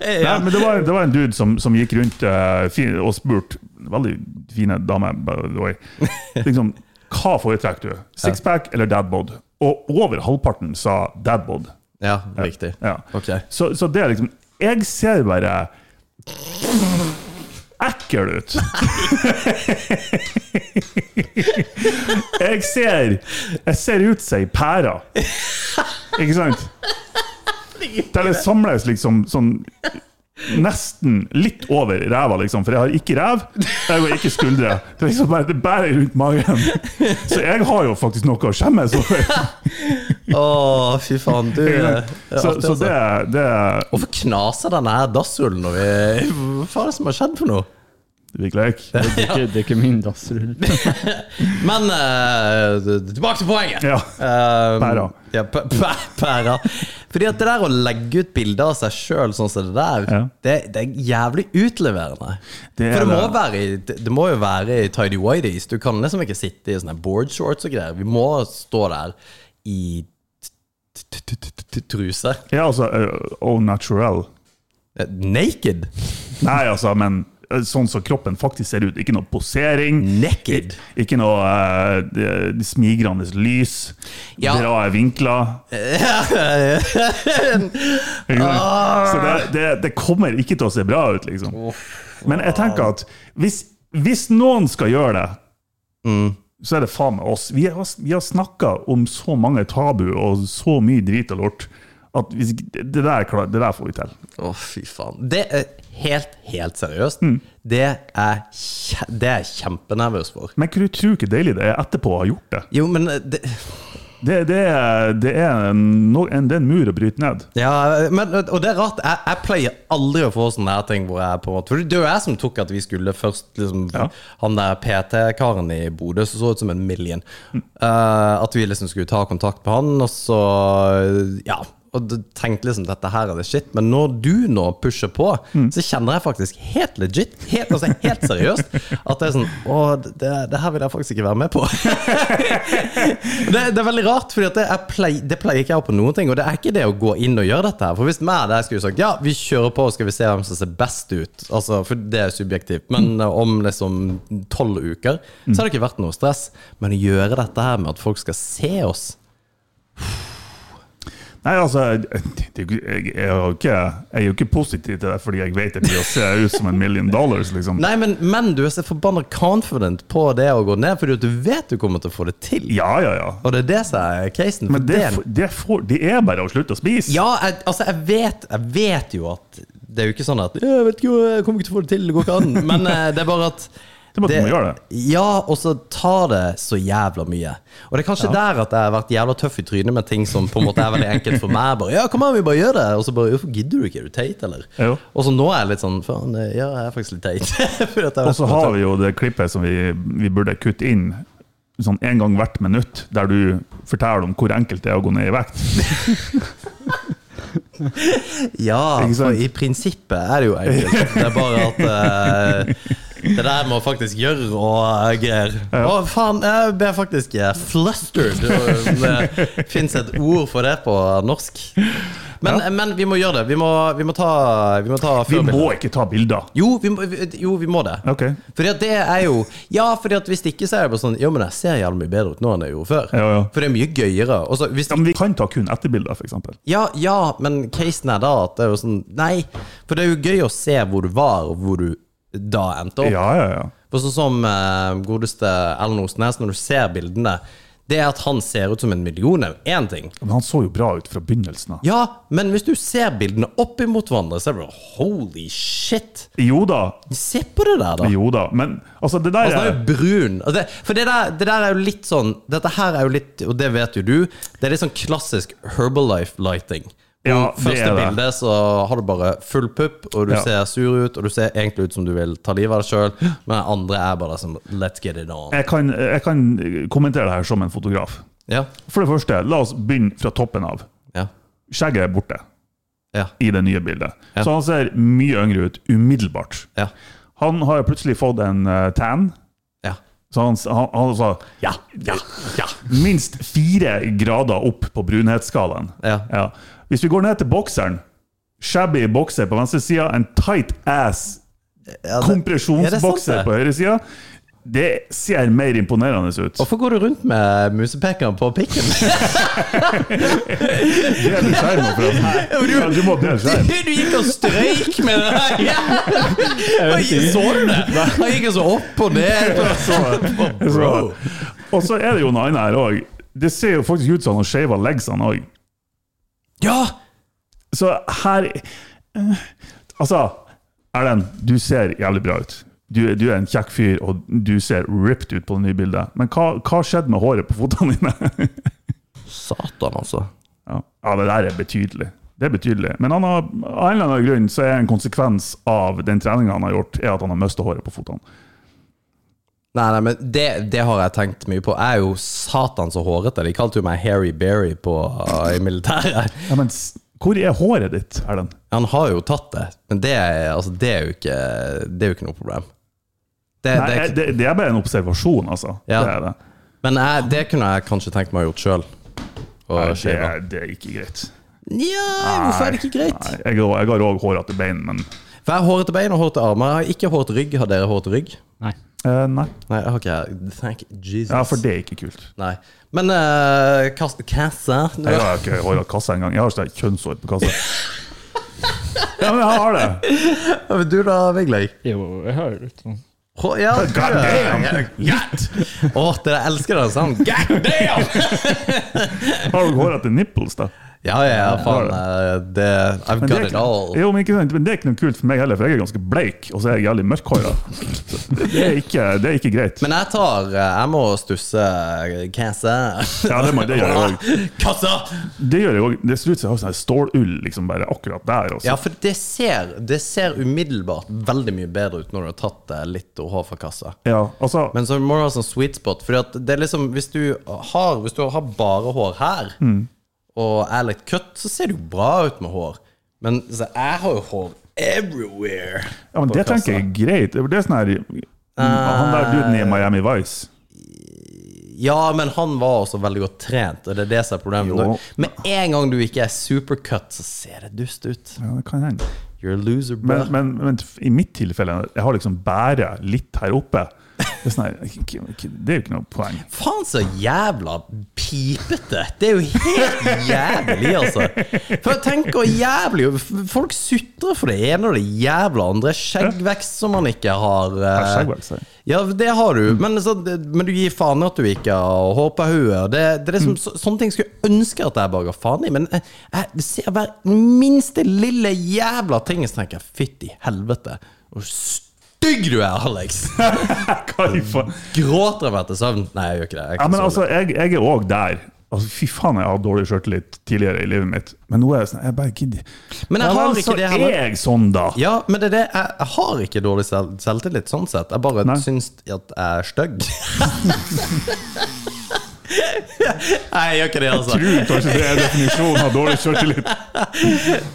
G: Nei, men det var, det var en dude som, som gikk rundt eh, fin, og spurte Veldig fine dame, by the way. Liksom, hva foretrekker du? Sixpack eller dadbod? Og over halvparten sa dadbod.
F: Ja, riktig.
G: Ja.
F: Ok.
G: Så, så det er liksom Jeg ser bare ekkel ut. jeg ser Jeg ser ut som ei pære. Ikke sant? Der det samles liksom sånn Nesten litt over ræva, liksom. For jeg har ikke ræv, jeg har ikke skuldre. Det er liksom bare, det bærer rundt magen. Så jeg har jo faktisk noe å skjemmes over.
F: Å, fy faen, du
G: Ikke
F: er er
G: sant? Så,
F: artig,
G: så
F: altså.
G: det, er- det er
F: Hvorfor knaser denne her dasshullen når vi Hva faen er det som har skjedd for noe?
G: Virkelig.
H: Det er ikke, det er ikke min dassrull.
F: Men eh, tilbake til poenget.
G: Ja.
F: Eh,
G: Pæra.
F: Ja, pæ- pæ- pæra. Fordi at det der å legge ut bilder av seg sjøl sånn som det der,
G: Ja.
F: det, det er jævlig utleverende.
G: Det er
F: For det må,
G: det.
F: være, i- det det må jo være i tidy whities. Du kan liksom ikke sitte i sånne board shorts og greier. Vi må stå der i t- t- t- t- t- truse.
G: Ja, altså eh, Au naturel.
F: Eh, Naked?
G: Nei, altså, men eh, sånn som kroppen faktisk ser ut. Ikke noe posering.
F: Naked?
G: Ik- Ikke noe eh, de- de smigrende lys.
F: Ja.
G: Bra vinkler. Ikke sant? Så det, det, det kommer ikke til å se bra ut, liksom. Men jeg tenker at hvis, hvis noen skal gjøre det,
F: Mm.
G: så er det faen meg oss. Vi har, vi har snakka om så mange tabu og så mye drit og lort. At hvis, ikke- det, det, der, klar- det der får vi til.
F: Å, fy faen. Det er helt, helt seriøst.
G: Mm.
F: Det, er kje, det er jeg kjempenervøs for.
G: Men du tror ikke deilig det er etterpå å ha gjort det.
F: Jo, men det,
G: Det, det, er- det, er, en, no- en, det er en mur å bryte ned.
F: ja, men, Og det er rart. Jeg, jeg pleier aldri å få sånne her ting hvor jeg på en måte For det er jo jeg som tok at vi skulle først liksom,
G: Ja.
F: Han der PT-karen i Bodø som så ut som en million. Eh, at vi liksom skulle ta kontakt med han, og så Ja. Og d- tenkte liksom dette her er det shit, men når du nå pusher på, så kjenner jeg faktisk helt legit, helt, altså helt seriøst, at det er sånn Å, det, det her vil jeg faktisk ikke være med på. det, det er veldig rart, for det, er plei- det pleier ikke jeg på noen ting. Og det er ikke det å gå inn og gjøre dette her. For hvis meg der skulle sagt ja, vi kjører på og skal vi se hvem som ser best ut, altså, for det er subjektivt, men
G: Mm.
F: eh, om liksom tolv uker, så har det ikke vært noe stress. Men å gjøre dette her med at folk skal se oss
G: Nei, altså det- det- Jeg jeg er jo ikke, jeg er jo ikke positiv til det fordi jeg vet det blir å se ut som en million dollars, liksom.
F: Nei, men, men du er så forbanna confident på det å gå ned, fordi at du vet du kommer til å få det til.
G: Ja, ja, ja.
F: Og det er det som er casen. for
G: Men det, f- det, får, det er bare å slutte å spise.
F: Ja, jeg, altså jeg vet, jeg vet jo at Det er jo ikke sånn at Jeg vet ikke, jeg kommer ikke til å få det til, det går ikke an. Men eh, det er bare at
G: Det er bare at du må gjøre det.
F: Ja, og så tar det så jævla mye. Og det er kanskje der at jeg har vært jævla tøff i trynet med ting som på en måte er veldig enkelt for meg. Bare, ja, kom an, vi bare gjør det Og så bare Hvorfor gidder du ikke? Er du teit, eller?
G: Jo.
F: Og så nå er jeg litt sånn Faen, eh, ja, jeg er faktisk litt teit. Fordi at jeg sånn,
G: Og så har vi jo det klippet som vi, vi burde kutte inn sånn en gang hvert minutt, der du forteller om hvor enkelt det er å gå ned i vekt.
F: Ja,
G: Ikke sant?
F: for i prinsippet er det jo enkelt. Det er bare at eh, det der med å faktisk gjøre og greier. Å, faen, jeg ble faktisk eh, flustered. og Det fins eh, et ord for det på norsk. Men, men vi må gjøre det. Vi må, vi må ta, vi må ta
G: Vi
F: førbildet.
G: må ikke ta bilder.
F: Jo, vi må, vi- jo, vi må det.
G: Ok.
F: Fordi at det er jo Ja, fordi at hvis ikke så er det bare sånn Jo, men jeg ser jævlig mye bedre ut nå enn jeg gjorde før.
G: Ja, ja.
F: For det er mye gøyere. Og så hvis
G: Ja, men vi kan ta kun etterbilder, f.eks.
F: ja, ja, men casen er da at det er jo sånn Nei, for det er jo gøy å se hvor du var, og hvor du da endte opp.
G: Ja, ja, ja.
F: For sånn som eh, godeste Ellen Osnes, når du ser bildene Det er at han ser ut som en million, er jo én ting.
G: Men han så jo bra ut fra begynnelsen av.
F: Ja, men hvis du ser bildene opp imot hverandre, så er det bare holy shit!
G: Jo da,
F: Se på det der, da!
G: jo da. Men altså, det der
F: Altså,
G: er
F: han er jo brun. Altså, det, for det der, det der er jo litt sånn Dette her er jo litt, og det vet jo du, det er litt sånn klassisk Herbalife-lighting. På
G: Ja, det
F: første
G: er det.
F: bildet så har du bare full pupp, og du
G: Ja.
F: ser sur ut, og du ser egentlig ut som du vil ta livet av deg sjøl, men den andre er bare som Let's get it on.
G: jeg kan, jeg kan kommentere det her som en fotograf.
F: Ja,
G: For det første, la oss begynne fra toppen av.
F: ja,
G: Skjegget er borte
F: ja.
G: i det nye bildet.
F: Ja.
G: Så han ser mye yngre ut umiddelbart.
F: ja,
G: Han har jo plutselig fått en eh, tan.
F: ja.
G: Så han, han, han sa ja, ja, ja. Minst fire grader opp på brunhetsskalaen.
F: Ja.
G: Hvis vi går ned til bokseren Shabby bokser på venstre sida, en tight ass
F: Ja, det- Ja,
G: kompresjonsbokser
F: det er sant, det.
G: på høyre sida. Det ser mer imponerende ut.
F: Hvorfor går du rundt med musepekeren på pikken?
G: Del skjermen, forresten. Ja, du må dele skjermen.
F: Du gikk og strøyk med den der!
H: vet ikke.
F: Så du det? Han gikk altså opp og ned.
G: Så- Og så er det jo noe annet her òg. Det ser jo faktisk ut som han har shava legsene òg.
F: Ja!
G: Så her eh, Altså, Erlend, du ser jævlig bra ut. Du, du er en kjekk fyr, og du ser ripped ut på det nye bildet. Men hva, hva skjedde med håret på fotene dine?
F: Satan, altså.
G: ja. ja, det der er betydelig. Det er betydelig. Men han har, av en eller annen grunn så er en konsekvens av den treninga han har gjort, er at han har mista håret på fotene.
F: Nei, nei, men det, det har jeg tenkt mye på. Jeg er jo satan så hårete. De kalte jo meg Harry Berry på, eh, i militæret.
G: Ja, men s- hvor er håret ditt, Erlend?
F: Han har jo tatt det, men det er, altså, det er, jo, ikke, det er jo ikke noe problem. Det,
G: Nei,
F: det, er
G: jeg- det, det er bare en observasjon, altså.
F: Ja.
G: Det er det.
F: ikke- men jeg, det kunne jeg kanskje tenkt meg å gjort sjøl.
G: Nei,
F: Og
G: det,
F: shave.
G: er, det er ikke greit.
F: Nja, hvorfor er det ikke greit?
G: Nei, jeg, har- jeg har òg hårete bein, men
F: For jeg har hårete bein og hårete armer. Jeg har ikke hårete rygg. Har dere hårete rygg?
H: Nei.
G: eh, Nei.
F: Nei, jeg har ikke jeg. Thank Jesus.
G: Ja, for det er ikke kult.
F: Nei. Men uh, kast, kassa
G: Jeg har ikke hår av kassa engang. Jeg har sånn kjønnshår på kassa. Ja, men jeg har det!
F: Du da, Vigleik?
H: Jo, jeg har jo litt sånn
F: Hå- Ja, du
G: God damn!
F: er-
G: Litt!
F: Åh, dere elsker den sangen. God damn!
G: Har du hårete nipples, da?
F: Ja, ja, ja, faen. eh, Det, I've
G: Men det,
F: got
G: er
F: it
G: ikke,
F: all.
G: jo, men, ikke sant, men det er ikke noe kult for meg heller, for jeg er ganske bleik, og så er jeg jævlig mørkhåra. Det, er ikke- det er ikke greit.
F: Men jeg tar eh, Jeg må stusse eh, Kassa.
G: Ja, det må- det gjør jeg
F: Kassa!
G: Det gjør jeg også, det ser ut som jeg har sånn her stålull liksom bare akkurat der. Også.
F: Ja, for det ser, det ser umiddelbart veldig mye bedre ut når du har tatt eh, litt og har fra kassa.
G: Ja, altså,
F: Men så må du ha sånn sweet spot. Fordi at det er liksom, hvis du har, hvis du har bare hår her,
G: Mm.
F: og er litt cut, så ser det jo bra ut med hår. Men så jeg har jo hår everywhere.
G: ja, men
F: på
G: det tenker
F: kassa.
G: jeg er greit. Det er sånn her
F: Ah.
G: Han der duden i Miami Vice.
F: Ja, men han var også veldig godt trent, og det er det som er problemet.
G: Jo.
F: Når- Med en gang du ikke er supercut, så ser det dust ut.
G: Ja, det kan hende.
F: You're a loser, bro.
G: Men, men, men i mitt tilfelle, jeg har liksom bare litt her oppe. Det er, sånn her, det er jo ikke noe poeng.
F: Faen så jævla pipete! Det er jo helt jævlig, altså. For jeg tenker jævlig f- Folk sutrer for det ene og det jævla andre. Skjeggvekst som man ikke har. eh,
G: Ja, skjeggvekst, ja.
F: Ja, det har du, men, så, men du gir faen i at du ikke har håpehue. Det, det er liksom, så, sånne ting skulle jeg ønske at jeg bare ga faen i, men jeg, jeg ser hver minste lille jævla ting, og så tenker jeg fytti helvete. Hvor stygg du er, Alex!
G: Hva i faen?
F: Mm. Gråter jeg meg til søvn? Nei, jeg gjør ikke det. Jeg er
G: Ja,
F: ikke
G: men
F: så
G: altså, jeg, jeg er òg der. Altså, Fy faen, jeg har hatt dårlig sjøltillit tidligere i livet mitt, men nå er jeg sånn Jeg bare gidder.
F: Men jeg
G: Ja,
F: har
G: vel,
F: ikke
G: så
F: det
G: er
F: heller.
G: jeg sånn, da.
F: Ja, men det er det. Jeg, jeg har ikke dårlig selv, selvtillit sånn sett. Jeg bare
G: Nei.
F: syns at jeg er stygg. Nei, jeg gjør ikke det, altså.
G: Tror kanskje det er definisjonen av dårlig sjøltillit.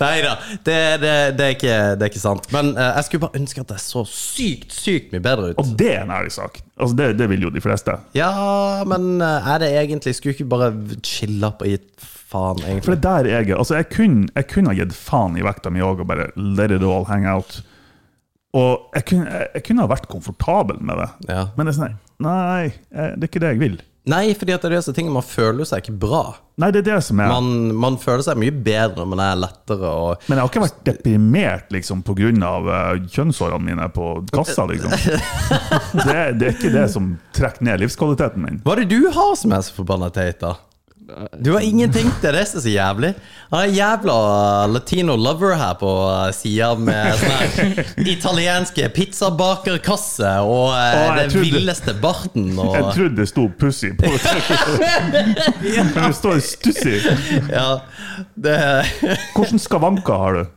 F: Nei da. Det, det, det, er ikke, det er ikke sant. Men eh, jeg skulle bare ønske at jeg så sykt, sykt mye bedre ut.
G: Og det er en ærlig sak. Altså, det, det vil jo de fleste.
F: Ja, men eh, er det egentlig Skulle ikke bare chille opp og gitt faen,
G: For
F: egentlig?
G: det er der jeg er. Altså, jeg kunne, jeg kunne ha gitt faen i vekta mi òg og bare let it all hang out. Og jeg kunne, jeg, jeg kunne ha vært komfortabel med det,
F: Ja.
G: men det er sånn her, Nei, eh, det er ikke det jeg vil.
F: Nei, fordi at det er disse tingene man føler seg ikke bra.
G: Nei, det er det som er
F: Man, man føler seg mye bedre når man er lettere og
G: Men jeg har ikke vært deprimert liksom, pga. Uh, kjønnshårene mine på kassa, liksom. Det, det er ikke det som trekker ned livskvaliteten min.
F: Hva er det du har som er så forbanna teit, da? Du har ingenting til det som er så jævlig. Han er en jævla latino lover her på sida med sånn her italienske pizzabakerkasse og eh,
G: Å, jeg
F: den
G: trodde-
F: villeste barten og
G: Jeg trodde det sto 'pussy' på Men det står 'stussy'.
F: Ja, det
G: Hvordan skavanker har du?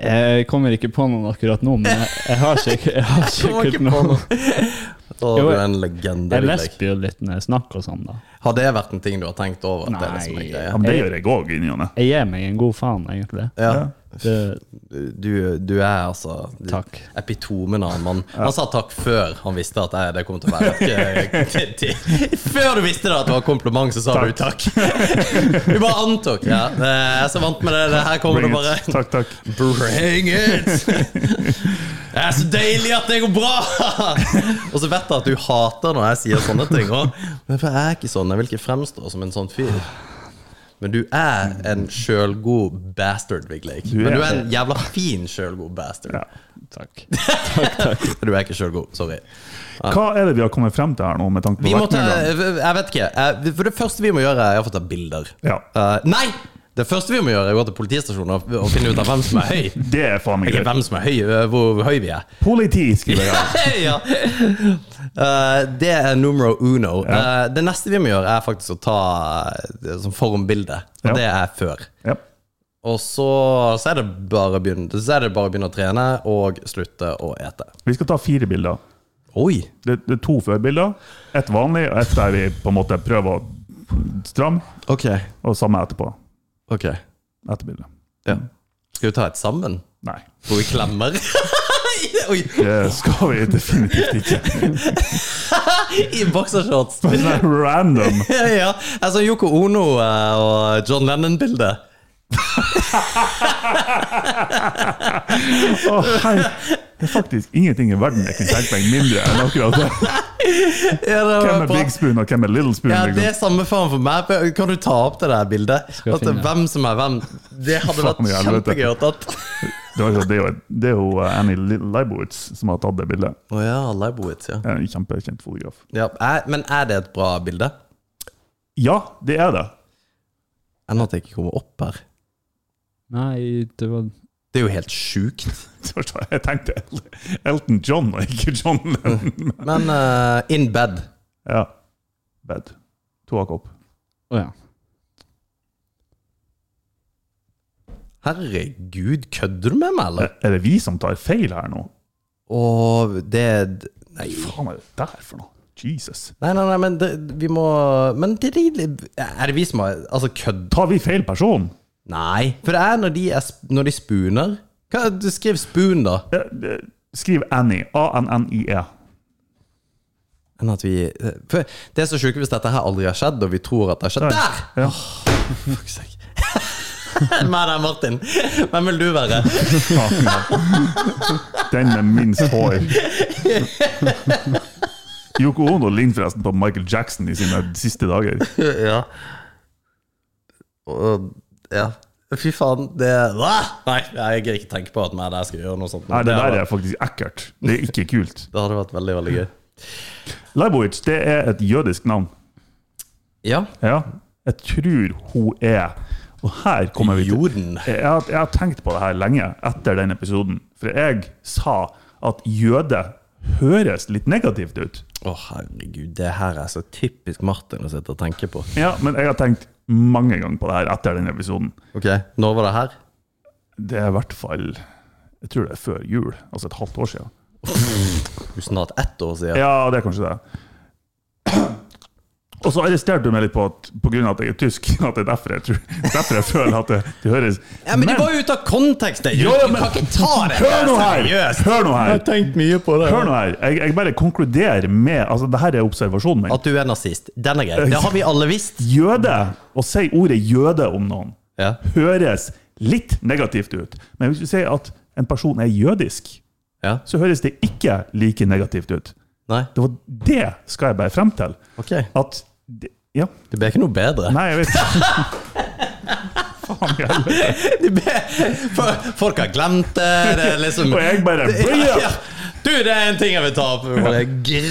H: Jeg kommer ikke på noen akkurat nå, men jeg, jeg har sikkert, jeg har
F: Kom
H: sikkert
F: ikke på
H: noen.
F: noe. Å, du
H: Jo,
F: er en legende.
H: Jeg
F: vil jeg.
H: lesber jo litt når jeg snakker og sånn, da.
F: Har det vært en ting du har tenkt over? At det er det som er
H: Nei.
G: Ja,
F: greia?
G: men det gjør jeg òg, inni og ne.
H: Jeg gir meg en god faen, egentlig.
F: Ja.
H: Det,
F: Du, du er altså du-
H: Takk.
F: epitomen av en mann. Han sa takk før han visste at jeg, det kom til å være eh, til, til, Før du visste det at det var kompliment, så sa du takk. Du bare antok. Ja, eh, jeg er så vant med det. det her kommer
G: Bring
F: det
G: it.
F: bare
G: Takk, takk.
F: Bring it! Det er så deilig at det går bra! Og så vet jeg at du hater når jeg sier sånne ting. Og, men for jeg er ikke sånn. Jeg vil ikke fremstå som en sånn fyr. Men du er en sjølgod bastard, Vigleik.
G: er
F: Men du er en
G: det.
F: jævla fin sjølgod bastard.
G: Ja.
H: takk.
F: Du er ikke sjølgod. Sorry.
G: Hva er det vi har kommet frem til her nå, med tanke på
F: Vi må ta,
G: vektnedgang?
F: jeg vet ikke. Eh, For det første vi må gjøre, er å få ta bilder.
G: Ja.
F: Eh, nei! Det første vi må gjøre, er å gå til politistasjonen og, og finne ut av hvem som er høy.
G: Det er faen meg
F: Ikke
G: greit.
F: hvem som er høy, eh, hvor høy vi er.
G: Politi, skriver jeg.
F: ja. Eh, det er numero uno. Eh, det neste vi må gjøre, er faktisk å ta eh, sånn formbilde. Og
G: Ja.
F: det er før.
G: Ja.
F: Og så, så, er det bare å begynne, så er det bare å begynne å trene og slutte å ete.
G: Vi skal ta fire bilder.
F: Oi!
G: Det, det er to førbilder. Ett vanlig, og ett der vi på en måte prøver å stramme.
F: Ok.
G: Og samme etterpå.
F: ok
G: Etterbildet.
F: ja. Skal vi ta et sammen?
G: Nei.
F: Hvor vi klemmer? Oi!
G: Det skal vi definitivt ikke.
F: I boksershorts!
G: Men det er sånn random.
F: ja, ja. Altså Yoko Ono eh, og John Lennon-bilde.
G: Å, hei. Det er faktisk ingenting i verden jeg kunne tenkt meg mindre enn akkurat det.
F: Ja, det var
G: Hvem er
F: bra.
G: Big Spoon, og hvem er Little Spoon?
F: Ja, det er
G: Liksom.
F: samme faen for meg. Kan du ta opp det der bildet?
H: Skal jeg
F: At det er
H: finne.
F: hvem som er hvem. Det hadde vært
G: Faen i helvete.
F: kjempegøy å tatt.
G: Det var jo- Det er jo, det er jo eh, Annie Leibowitz som har tatt det bildet. Eh,
F: Å ja, Leibowitz, ja.
G: En kjempekjent fotograf.
F: ja. er- Men er det et bra bilde?
G: Ja, det er det.
F: Enn at jeg ikke kommer opp her.
H: Nei, det var
F: Det er jo helt sjukt.
G: Jeg tenkte El- Elton John, og ikke John Lennon.
F: Men eh, in bed.
G: Ja. Bed. To av kopp.
H: Å ja.
F: Herregud, kødder du med meg, eller?
G: Er det vi som tar feil her nå?
F: Og det Nei,
G: Hva
F: faen.
G: faen er det der for noe? Jesus.
F: Nei, nei, nei, men det, vi må Men det er egentlig- Er det vi som har Altså, kødd
G: Tar vi feil person?
F: Nei. For det er når de, er, sp- når de spooner Hva, du Skriv spoon, da.
G: Eh, eh, Skriv Annie. A-N-N-I-E.
F: Enn at vi eh, for Det er så sjukt hvis dette her aldri har skjedd, og vi tror at det har skjedd. Der!
G: Ja.
F: Fuck seg. Men nei, Martin. Hvem vil du være?
G: Faen, ja. Den med minst hår. Yoko Ono ligner forresten på Michael Jackson i sine siste dager.
F: ja. Og, ja. Fy faen, det Hva? Nei, jeg greier ikke tenke på at meg der skal gjøre noe sånt.
G: Nei, det der
F: hadde,
G: er faktisk ekkelt. Det er ikke kult.
F: det hadde vært veldig, veldig gøy.
G: Leibowitz, det er et jødisk navn.
F: Ja.
G: Ja, jeg tror hun er Og her kommer vi til Eh.
F: Jorden.
G: Jeg, har- jeg har tenkt på det her lenge etter den episoden. For jeg sa at jøde høres litt negativt ut.
F: Å, herregud, det her er så typisk Martin å sitte og tenke på.
G: Ja, Men jeg har tenkt mange ganger på det her etter den episoden.
F: Ok, Når var det her?
G: Det er i hvert fall Jeg tror det er før jul. Altså et halvt år siden.
F: Snart ett år siden.
G: Ja, det er kanskje det. Og så arresterte du meg litt på at på grunn av at jeg er tysk. At det er derfor jeg, tror, derfor jeg føler at det, det høres
F: Ja, Men, det var jo ute av kontekst! det. Du
G: Jo, ja, men-
F: kan ikke ta det
G: Hør nå her!
F: seriøst!
G: Hør nå her!
F: tenkt mye på det.
G: Hør nå her, jeg, jeg bare konkluderer med Altså, det her er observasjonen min.
F: At du er nazist. Den er grei. Det har vi alle visst.
G: Jøde, å si ordet jøde om noen,
F: Ja.
G: høres litt negativt ut. Men hvis du sier at en person er jødisk,
F: ja.
G: så høres det ikke like negativt ut.
F: Nei.
G: Det var det skal jeg bare frem til.
F: Ok.
G: At det, Ja.
F: Det ble ikke noe bedre.
G: Nei, jeg vet Faen i helvete.
F: Det ble, for, folk har glemt det. det er liksom,
G: Og jeg bare
F: ja, ja.
G: Bøye!
F: Du, det er en ting jeg vil ta opp! Vi må Bare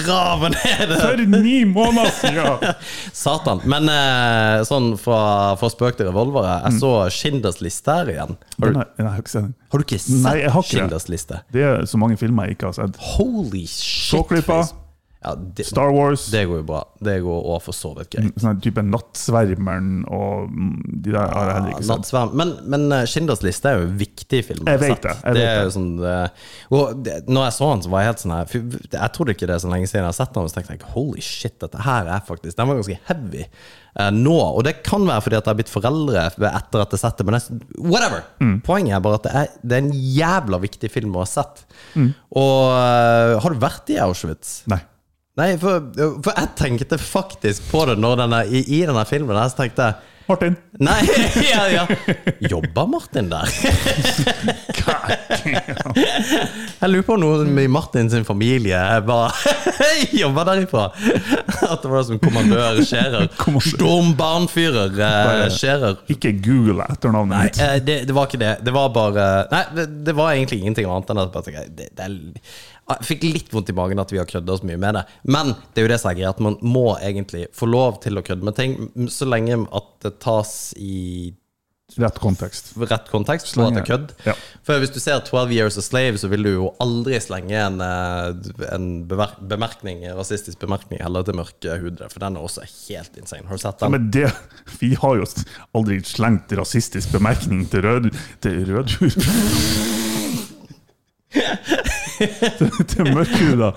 F: grave ned det.
G: For ni måneder siden!
F: Satan. Men eh, sånn fra, fra spøk til revolvere,
G: Mm.
F: jeg så Schindlers liste her igjen. Har du,
G: Nei, jeg har ikke sett den.
F: har du ikke sett
G: Nei, jeg har ikke det.
F: Schindlers liste?
G: Det er så mange filmer jeg ikke har sett.
F: Holy shit!
G: Såklippa.
F: Chris. Ja, det,
G: Star Wars.
F: det går jo bra. Det går over for så vidt greit.
G: Sånn her type Nattsvermeren og mm, de der har jeg heller ikke sett.
F: Nattsverm. Men, men eh, Schindlers liste er jo en viktig film.
G: Jeg
F: har
G: vet
F: sett.
G: det, jeg
F: det
G: vet
F: er jo
G: det.
F: sånn eh, Og det, når jeg så den, så var jeg helt sånn her fy- Jeg trodde ikke det er så lenge siden jeg har sett den, og så tenkte jeg holy shit, dette her er faktisk Den var ganske heavy eh, nå. Og det kan være fordi at jeg har blitt foreldre etter at jeg har sett det, men jeg, whatever!
G: Mm.
F: Poenget er bare at det er, det er en jævla viktig film å ha sett.
G: Mm.
F: Og eh, har du vært i Auschwitz?
G: Nei.
F: Nei, for, for jeg tenkte faktisk på det når denne, i, i denne filmen her, så tenkte jeg
G: Martin.
F: Nei, ja, ja. Jobba Martin der? Jeg lurer på om noen i Martin sin familie bare jobber derifra. At det var det som kommandør Scherer.
G: Kommandør.
F: Stormbarnfyrer eh, Scherer.
G: Ikke google etternavnet mitt.
F: Eh, det, det var ikke det. Det var bare Nei, det, det var egentlig ingenting annet enn at jeg bare tenkte, det, det er, Jeg fikk litt vondt i magen at vi har kødda så mye med det. Men det er jo det som er greia, at man må egentlig få lov til å kødde med ting, m- så lenge at det tas i
G: Rett kontekst.
F: rett kontekst, og
G: Slenge.
F: at det er kødd.
G: Ja.
F: For hvis du ser 12 Years a Slave, så vil du jo aldri slenge en, eh, en bever- bemerkning, rasistisk bemerkning heller til mørke hudre, for den er også helt insane. Har du sett den?
G: Men det Vi har jo aldri slengt rasistisk bemerkning til rød... Til rødhud Til- Til mørkhuda.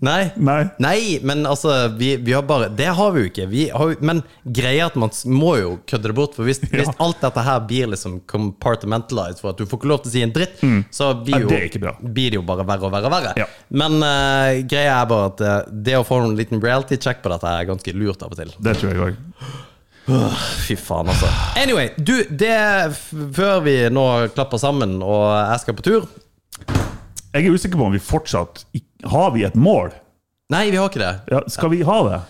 F: Nei.
G: Nei.
F: Nei, men altså vi, vi har bare, Det har vi jo ikke. Vi har, jo- men greia er at man s- må jo kødde det bort. For hvis, hvis alt dette her blir liksom compartmentalized for at du får ikke lov til å si en dritt, så blir,
G: Nei,
F: jo,
G: Mm. det er ikke bra.
F: blir det jo bare verre og verre. og verre
G: Ja.
F: Men eh, greia er bare at eh, det å få en liten reality check på dette er ganske lurt av og til.
G: Det tror jeg òg.
F: Fy faen, altså. Anyway, du, det f Før vi nå klapper sammen og jeg skal på tur
G: Jeg er usikker på om vi fortsatt ikk- Har vi et mål?
F: Nei, vi har ikke det.
G: Ja, skal vi ha det?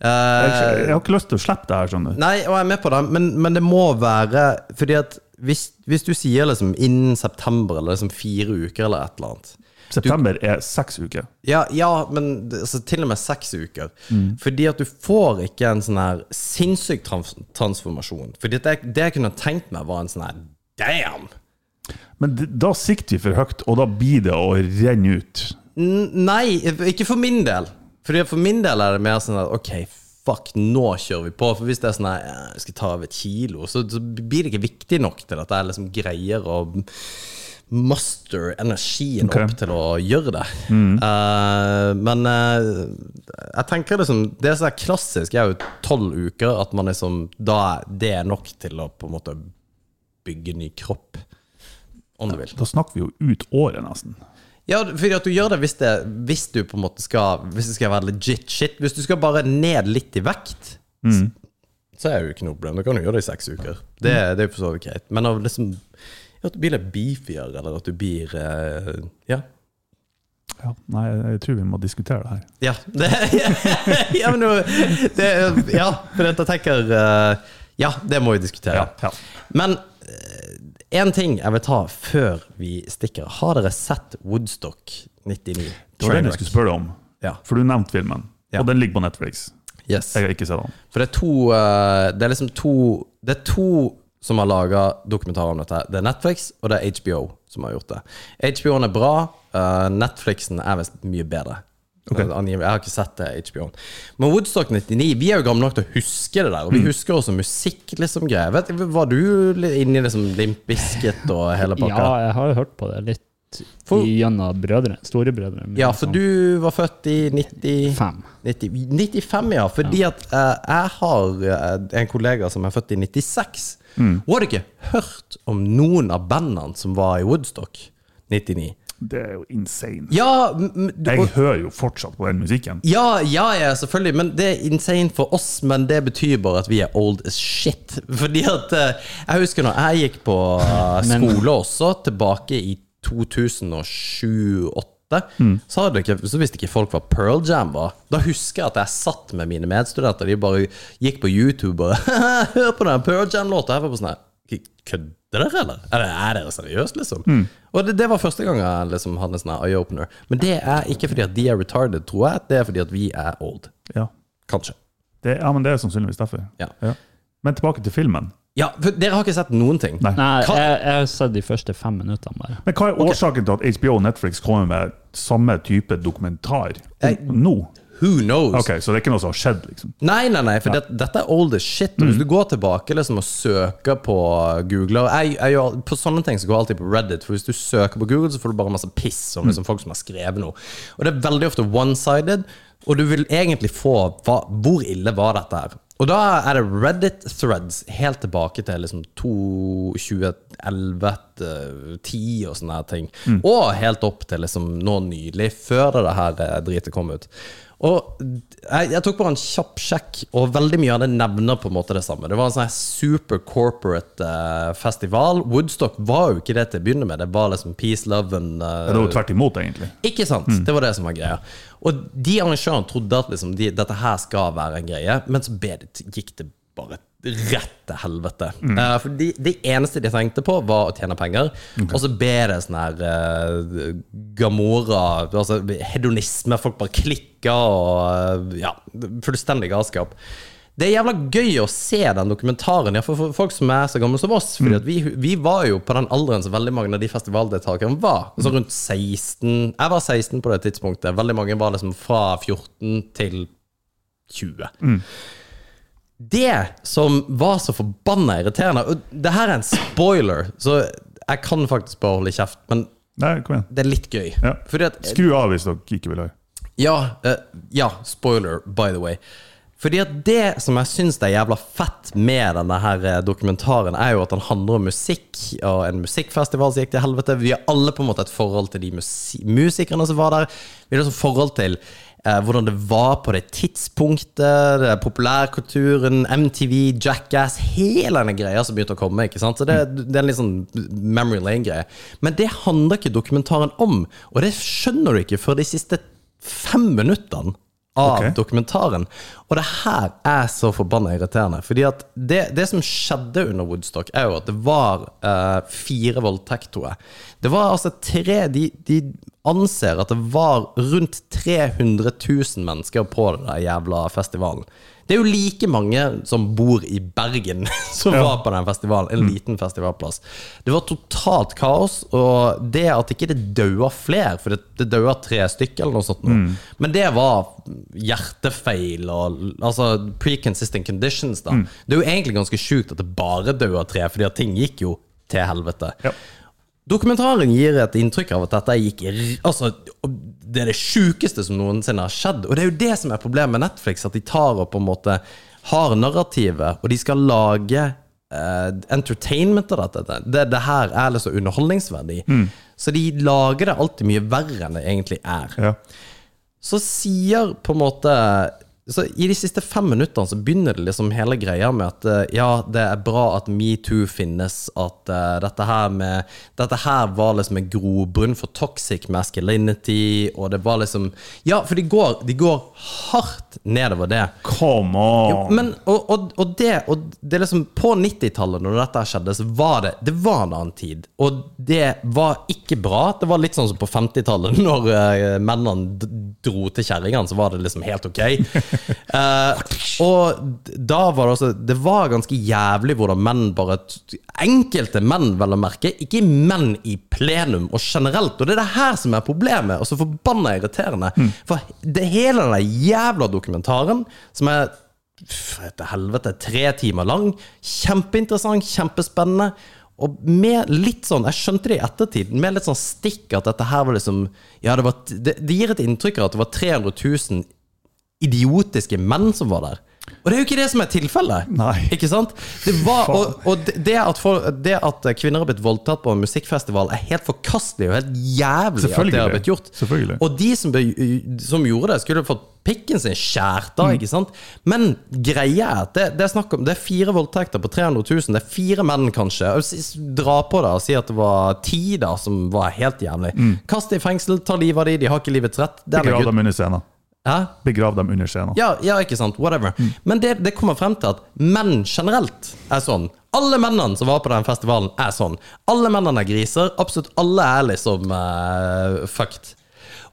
G: Jeg,
F: Eh,
G: jeg har ikke lyst til å slippe det her, skjønner du.
F: Nei, og jeg er med på det, men, men det må være Fordi at hvis, hvis du sier liksom innen september, eller liksom fire uker, eller et eller annet
G: September er seks uker.
F: Ja, ja men det- altså, til og med seks uker. Fordi at du får ikke en sånn her sinnssyk trans transformasjon. Fordi at det, det jeg kunne tenkt meg, var en sånn her Damn!
G: Men d- da sikter vi for høyt, og da blir det å renne ut.
F: N nei, ikke for min del. Fordi For min del er det mer sånn at OK, fuck, nå kjører vi på. For hvis det er sånn at jeg skal ta av et kilo, så, så blir det ikke viktig nok til at jeg liksom greier å muster energien
G: Ok.
F: opp til å gjøre det. Eh, men eh, jeg tenker liksom Det som er klassisk, er jo tolv uker, at man liksom da er Det er nok til å på en måte bygge ny kropp, om du vil.
G: Da snakker vi jo ut året, nesten.
F: Ja, fordi at du gjør det hvis, det hvis du på en måte skal Hvis det skal være legit shit. Hvis du skal bare ned litt i vekt,
G: Mm.
F: så er det jo ikke noe problem. Da kan du gjøre det i seks uker. Det, det er jo for så vidt greit. Men av liksom ja, At du blir litt beefier, eller at du blir eh, Ja.
G: Ja, nei, jeg tror vi må diskutere det her.
F: Ja, det, ja, men, nå- det, ja for dette tenker eh, Ja, det må vi diskutere.
G: Ja.
F: Men én ting jeg vil ta før vi stikker. Har dere sett Woodstock 99?
G: Det var den jeg skulle spørre deg om,
F: Ja.
G: for du nevnte filmen.
F: Ja.
G: Og den ligger på Netflix.
F: Yes.
G: Jeg har ikke sett den.
F: For det er to eh, Det er liksom to Det er to som har laga dokumentarer om dette. Det er Netflix og det er HBO som har gjort det. HBO-en er bra. eh, Netflixen er visst mye bedre. Eh, angivelig. Jeg har ikke sett det HBO-en. Men Woodstock 99 Vi er jo gamle nok til å huske det der. Og vi husker også musikk liksom greier. Vet du, Var du li- inni liksom Limp Bizkit og hele
H: Ja,
F: pakka?
H: jeg har jo hørt på det litt
F: For-
H: gjennom brødre, storebrødre. men
F: Ja, for du var født i 90...
H: Fem.
F: 90, 95, ja. Fordi at eh, jeg har eh, en kollega som er født i 96. Hun hadde ikke hørt om noen av bandene som var i Woodstock 99.
G: Det er jo insane.
F: Ja, m- m- du-
G: Jeg hører jo fortsatt på den musikken.
F: ja, ja, ja, selvfølgelig. Men det er insane for oss. Men det betyr bare at vi er old as shit. Fordi at eh, Jeg husker når jeg gikk på eh,
H: Men-
F: skole også, tilbake i 2007-2008, så, hadde ikke, så visste ikke folk hva Pearl Jam var. Da husker jeg at jeg satt med mine medstudenter. De bare gikk på YouTube og bare Hør på den Pearl Jam-låta! Jeg var på sånn her Kødder dere, eller? eller? Er dere seriøse, liksom?
G: Mm.
F: Og det, det var første gang jeg liksom hadde en sånn her eye-opener. Men det er ikke fordi at de er retarded, tror jeg. Det er fordi at vi er old.
G: Ja,
F: Kanskje.
G: det, ja men det er sannsynligvis derfor.
F: Ja.
G: Men tilbake til filmen.
F: Ja, for dere har ikke sett noen ting.
G: Nei.
H: Nei,
F: Hva-
H: jeg, jeg har sett de første fem minuttene bare.
G: Men hva er årsaken til at HBO og Netflix kommer med samme type dokumentar
F: Jeg-
G: nå?
F: Who knows?
G: Ok, Så det er ikke noe som har skjedd, liksom?
F: Nei, nei, nei, for det, dette er old as shit. Og hvis
G: Mm.
F: du går tilbake liksom, og søker på Google og jeg, jeg, gjør- På sånne ting så går jeg alltid på Reddit, for hvis du søker på Google, så får du bare masse piss
G: Mm.
F: om liksom, folk som har skrevet noe. Og det er veldig ofte one-sided, og du vil egentlig få hva, Hvor ille var dette her? Og da er det Reddit threads helt tilbake til liksom 2, 2011, eh, 10 og sånne her ting. Og helt opp til liksom nå nylig, før det her eh, dritet kom ut. Og jeg, jeg tok bare en kjapp sjekk, og veldig mye av det nevner på en måte det samme. Det var en sånn her super corporate eh, festival. Woodstock var jo ikke det til å begynne med. Det var liksom peace, love and eh,
G: Det er jo tvert imot, egentlig.
F: ikke sant? Det var det som var greia. Og de arrangørene trodde at liksom, de, dette her skal være en greie, men så ble det, gikk det bare rett til helvete. Eh, for de, det eneste de tenkte på, var å tjene penger. Og så ble det sånn her eh, Gamora altså Hedonisme. Folk bare klikka og eh, Ja, fullstendig galskap. Det er jævla gøy å se den dokumentaren, ja, for, for folk som er så gamle som oss. Fordi at vi, vi var jo på den alderen som veldig mange av de festivaldeltakerne var. Så rundt 16 Jeg var 16 på det tidspunktet. Veldig mange var liksom fra 14 til 20. Det som var så forbanna irriterende Og det her er en spoiler, så jeg kan faktisk bare holde kjeft, men
G: Nei, kom igjen.
F: det er litt gøy.
G: Ja.
F: Fordi at
G: Skru av hvis dere ikke vil høre.
F: ja, eh, ja, spoiler, by the way. Fordi at det som jeg syns er jævla fett med denne her eh, dokumentaren, er jo at den handler om musikk, og en musikkfestival som gikk til helvete. Vi har alle på en måte et forhold til de musi musikerne som var der. Vi har også forhold til eh, hvordan det var på det tidspunktet, det er populærkulturen, MTV, Jackass, hele denne greia som begynte å komme. ikke sant? Så det, det er en litt sånn memory lane-greie. Men det handler ikke dokumentaren om, og det skjønner du ikke før de siste fem minuttene av
G: Ok.
F: dokumentaren. Og det her er så forbanna irriterende. Fordi at det, det som skjedde under Woodstock, er jo at det var eh, fire voldtekter. Det var altså tre De, de anser at det var rundt 300 000 mennesker på den der jævla festivalen. Det er jo like mange som bor i Bergen som var på den festivalen. En liten festivalplass. Det var totalt kaos, og det at ikke det daua flere, for det, det daua tre stykker eller noe sånt, nå. men det var hjertefeil og altså pre-consistent conditions, da. Det er jo egentlig ganske sjukt at det bare daua tre, fordi at ting gikk jo til helvete.
G: Ja.
F: Dokumentaren gir et inntrykk av at dette gikk i r- Altså, det er det sjukeste som noensinne har skjedd. Og det er jo det som er problemet med Netflix, at de tar og på en måte har narrativet, og de skal lage eh, entertainment av dette. Det, det her er liksom underholdningsverdi. Så de lager det alltid mye verre enn det egentlig er.
G: Ja.
F: Så sier på en måte så I de siste fem minuttene så begynner det liksom hele greia med at eh, ja, det er bra at metoo finnes, at eh, dette her med Dette her var liksom en grobunn for toxic masculinity, og det var liksom Ja, for de går, de går hardt nedover det.
G: Come
F: Jo,
G: on!
F: men, og, og, og, det, og det er liksom På 90-tallet, når dette skjedde, så var det Det var en annen tid. Og det var ikke bra. Det var litt sånn som på 50-tallet, når eh, mennene d- dro til kjerringene, så var det liksom helt ok. Eh, og d- da var det også Det var ganske jævlig hvordan menn bare t- Enkelte menn, vel å merke. Ikke menn i plenum og generelt. Og det er det her som er problemet, og så forbanna irriterende. For det hele den der jævla dokumentaren, som er Pff, etter helvete, tre timer lang. Kjempeinteressant, kjempespennende. Og med litt sånn, jeg skjønte det i ettertid, med litt sånn stikk at dette her var liksom Ja, det, var, det, det gir et inntrykk av at det var 300 000 idiotiske menn som var der. Og det er jo ikke det som er tilfellet!
G: Nei.
F: Ikke sant? Det var, og og det, det, at folk, det at kvinner har blitt voldtatt på en musikkfestival, er helt forkastelig og helt jævlig at det har
G: Selvfølgelig.
F: blitt gjort.
G: Selvfølgelig.
F: Og de som, be, som gjorde det, skulle fått pikken sin skjært da, ikke sant? Men greia er at det, det er snakk om Det er fire voldtekter på 300 000. Det er fire menn, kanskje. Og s- Dra på det og si at det var ti da, som var helt jævlig. Kast det i fengsel, ta livet av de, de har ikke livets rett. Det er
G: Begrav
F: noe
G: dem under scenen.
F: Hæ?
G: Begrav dem under scenen.
F: Ja, ja, ikke sant. Whatever.
G: Mm.
F: Men det, det kommer frem til at menn generelt er sånn. Alle mennene som var på den festivalen, er sånn. Alle mennene er griser. Absolutt alle er liksom eh, fucked.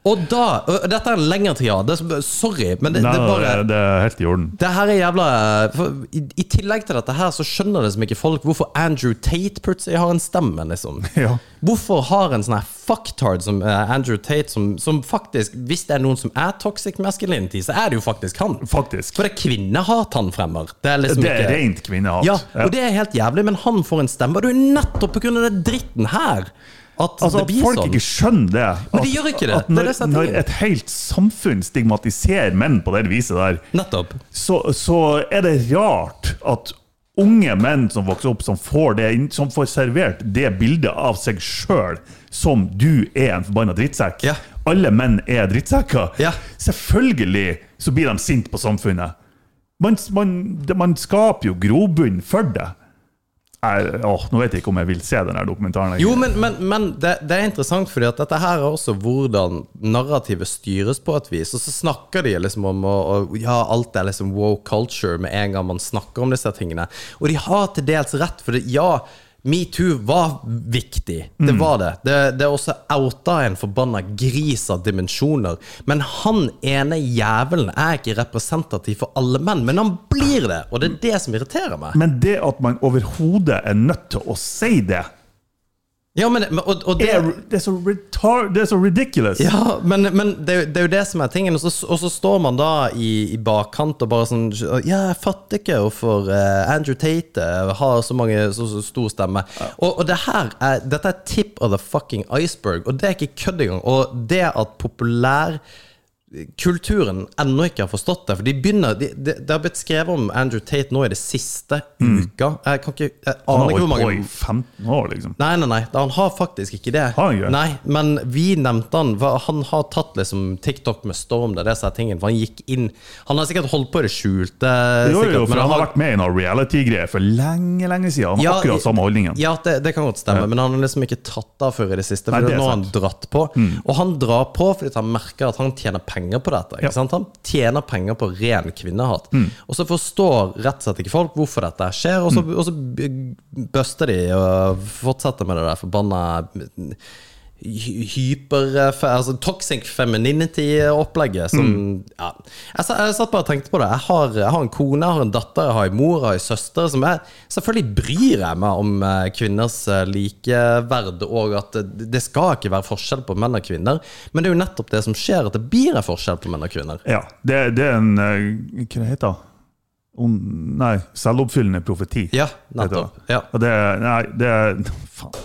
F: Og da og Dette er en lengre triade. så- Sorry, men det,
G: Nei,
F: det er bare
G: det er helt i orden.
F: det her er jævla eh, for i, I tillegg til dette her så skjønner liksom ikke folk hvorfor Andrew Tate plutselig har en stemme, liksom.
G: Ja.
F: Hvorfor har en sånn her fucktard som eh, Andrew Tate, som, som faktisk Hvis det er noen som er toxic masculinity, så er det jo faktisk han.
G: Faktisk.
F: For det er kvinnehat han fremmer. Det er liksom
G: Det er
F: ikke
G: rent kvinnehat.
F: Ja, og det er helt jævlig, men han får en stemme. Og det er jo nettopp pga. den dritten her at det
G: Altså At
F: blir
G: folk
F: sånn.
G: ikke skjønner det.
F: Men de
G: At-
F: gjør ikke det.
G: At
F: Det er
G: når,
F: det som er
G: når
F: tingen.
G: et helt samfunn stigmatiserer menn på det viset der,
F: Nettopp.
G: så, så er det rart at unge menn som vokser opp, som får, det, inn- som får servert det bildet av seg sjøl som du er en forbanna drittsekk.
F: Ja.
G: Alle menn er drittsekker.
F: Ja.
G: Selvfølgelig så blir de sinte på samfunnet. Man, man, det- man skaper jo grobunn for det. Jeg, åh, nå vet jeg ikke om jeg vil se den her dokumentaren. lenger.
F: Jo, men, men, men det, det er interessant, fordi at dette her er også hvordan narrativet styres på et vis. Og så snakker de liksom om å, å, Ja, alt er liksom wow culture med en gang man snakker om disse tingene. Og de har til dels rett, for det, ja, metoo var viktig. Det var det. Det, det er også outa en forbanna gris av dimensjoner. Men han ene jævelen er ikke representativ for alle menn, men han blir det. Og det er det som irriterer meg.
G: Men det at man overhodet er nødt til å si det,
F: Ja, men, men- og, og det,
G: er, det, er så retar, det er så ridiculous.
F: Ja, men, men det, er jo- det er jo det som er tingen. Og så, og så står man da i, i bakkant og bare sånn Ja, jeg fatter ikke hvorfor eh, Andrew Tate eh, har så, mange, så, så stor stemme. Og, og det her er, dette er tip of the fucking iceberg, og det er ikke kødd engang. Og det at populær eh, kulturen ennå ikke har forstått det. For de begynner de, de, Det har blitt skrevet om Andrew Tate nå i det siste uka. Jeg kan ikke Jeg
G: Mm. Han
F: aner
G: har
F: ikke hvor
G: holdt på
F: mange
G: i 15 år, liksom.
F: Nei, nei, nei, han har faktisk ikke det.
G: Har han ikke det?
F: Nei, Men vi nevnte han. hva- Han har tatt liksom TikTok med storm. Det er det som er tingen. For han gikk inn Han har sikkert holdt på i det skjulte.
G: Jo, jo,
F: sikkert,
G: for han har vært med i noen reality-greier for lenge, lenge siden. Han har akkurat samme holdningen.
F: Ja, det, det kan godt stemme, men han har liksom ikke tatt av før i det siste.
G: Nei,
F: For
G: det er
F: nå har han
G: sant. Mm.
F: dratt på. Og han drar på fordi at han merker at han tjener penger på dette. Ikke
G: Ja. Mm.
F: sant? Han tjener penger på ren kvinnehat. Og så forstår rett og slett ikke folk hvorfor dette skjer, og så,
G: Mm.
F: og så b- buster de og fortsetter med det der forbanna hy- hyper fe- altså, Toxic femininity-opplegget som ja. jeg, sa- jeg satt bare og tenkte på det. Jeg har, jeg har en kone, jeg har en datter, jeg har en mor, jeg har en søster. Som jeg, selvfølgelig bryr jeg meg om eh, kvinners eh, likeverd, og at det, det skal ikke være forskjell på menn og kvinner. Men det er jo nettopp det som skjer, at det blir en forskjell på menn og kvinner.
G: Ja, det, det er en eh, Hva det heter det? nei, selvoppfyllende profeti.
F: Ja,
G: heter det.
F: nettopp. Ja.
G: Og det er- Nei, det er Faen.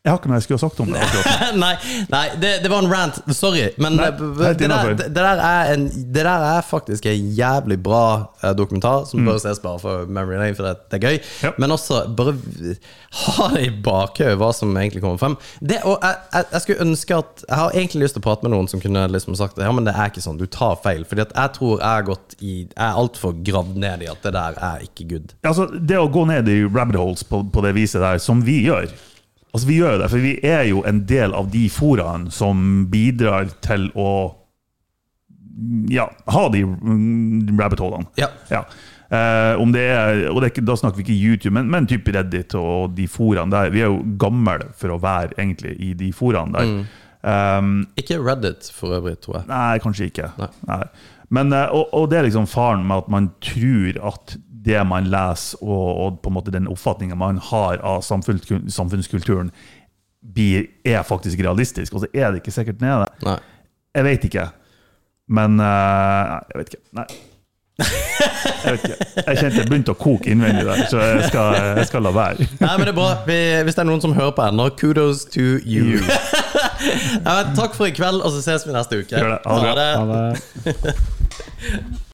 G: Jeg har ikke noe jeg skulle ha sagt om det. akkurat.
F: nei, nei det, det var en rant. Sorry. Men
G: Nei,
F: eh, b- b-
G: helt
F: det, der,
G: innenfor.
F: det, der er en, det der er faktisk en jævlig bra eh, dokumentar, som bør ses bare for memory lane, for det, det er gøy.
G: Mm. Ja.
F: Men også bare v- ha det i bakhodet hva som egentlig kommer frem. Det, og jeg, jeg, jeg skulle ønske at Jeg har egentlig lyst til å prate med noen som kunne liksom sagt Ja, men det er ikke sånn, du tar feil. Fordi at jeg tror jeg har gått i Jeg er altfor gravd ned i at det der er ikke good.
G: Altså, det å gå ned i rabbit holes på, på det viset der, som vi gjør Altså, vi gjør jo det, for vi er jo en del av de foraene som bidrar til å Ja, ha de mm, rabbit holene.
F: Ja.
G: Ja. Eh, om det er, og det er ikke, da snakker vi ikke YouTube, men, men type Reddit og de foraene der. Vi er jo gamle for å være egentlig i de foraene der. Um,
F: Ikke Reddit for øvrig, tror jeg.
G: Nei, kanskje ikke.
F: Nei.
G: Nei. Men, eh, og, og det er liksom faren med at man tror at det man leser, og, og på en måte den oppfatningen man har av samfunnsku- samfunnskulturen, blir, er faktisk realistisk. Og så er det ikke sikkert nede.
F: Nei.
G: Jeg vet ikke. Men eh, Nei, jeg vet ikke. Nei. Jeg vet ikke. Jeg kjente det begynte å koke innvendig der, så jeg skal, jeg skal la være.
F: Nei, men det er bra. Vi, hvis det er noen som hører på ennå, kudos to you. Nei, men takk for i kveld, og så ses vi neste uke.
G: Gjør det. Ha det bra.
F: Ha det.
H: Ha det.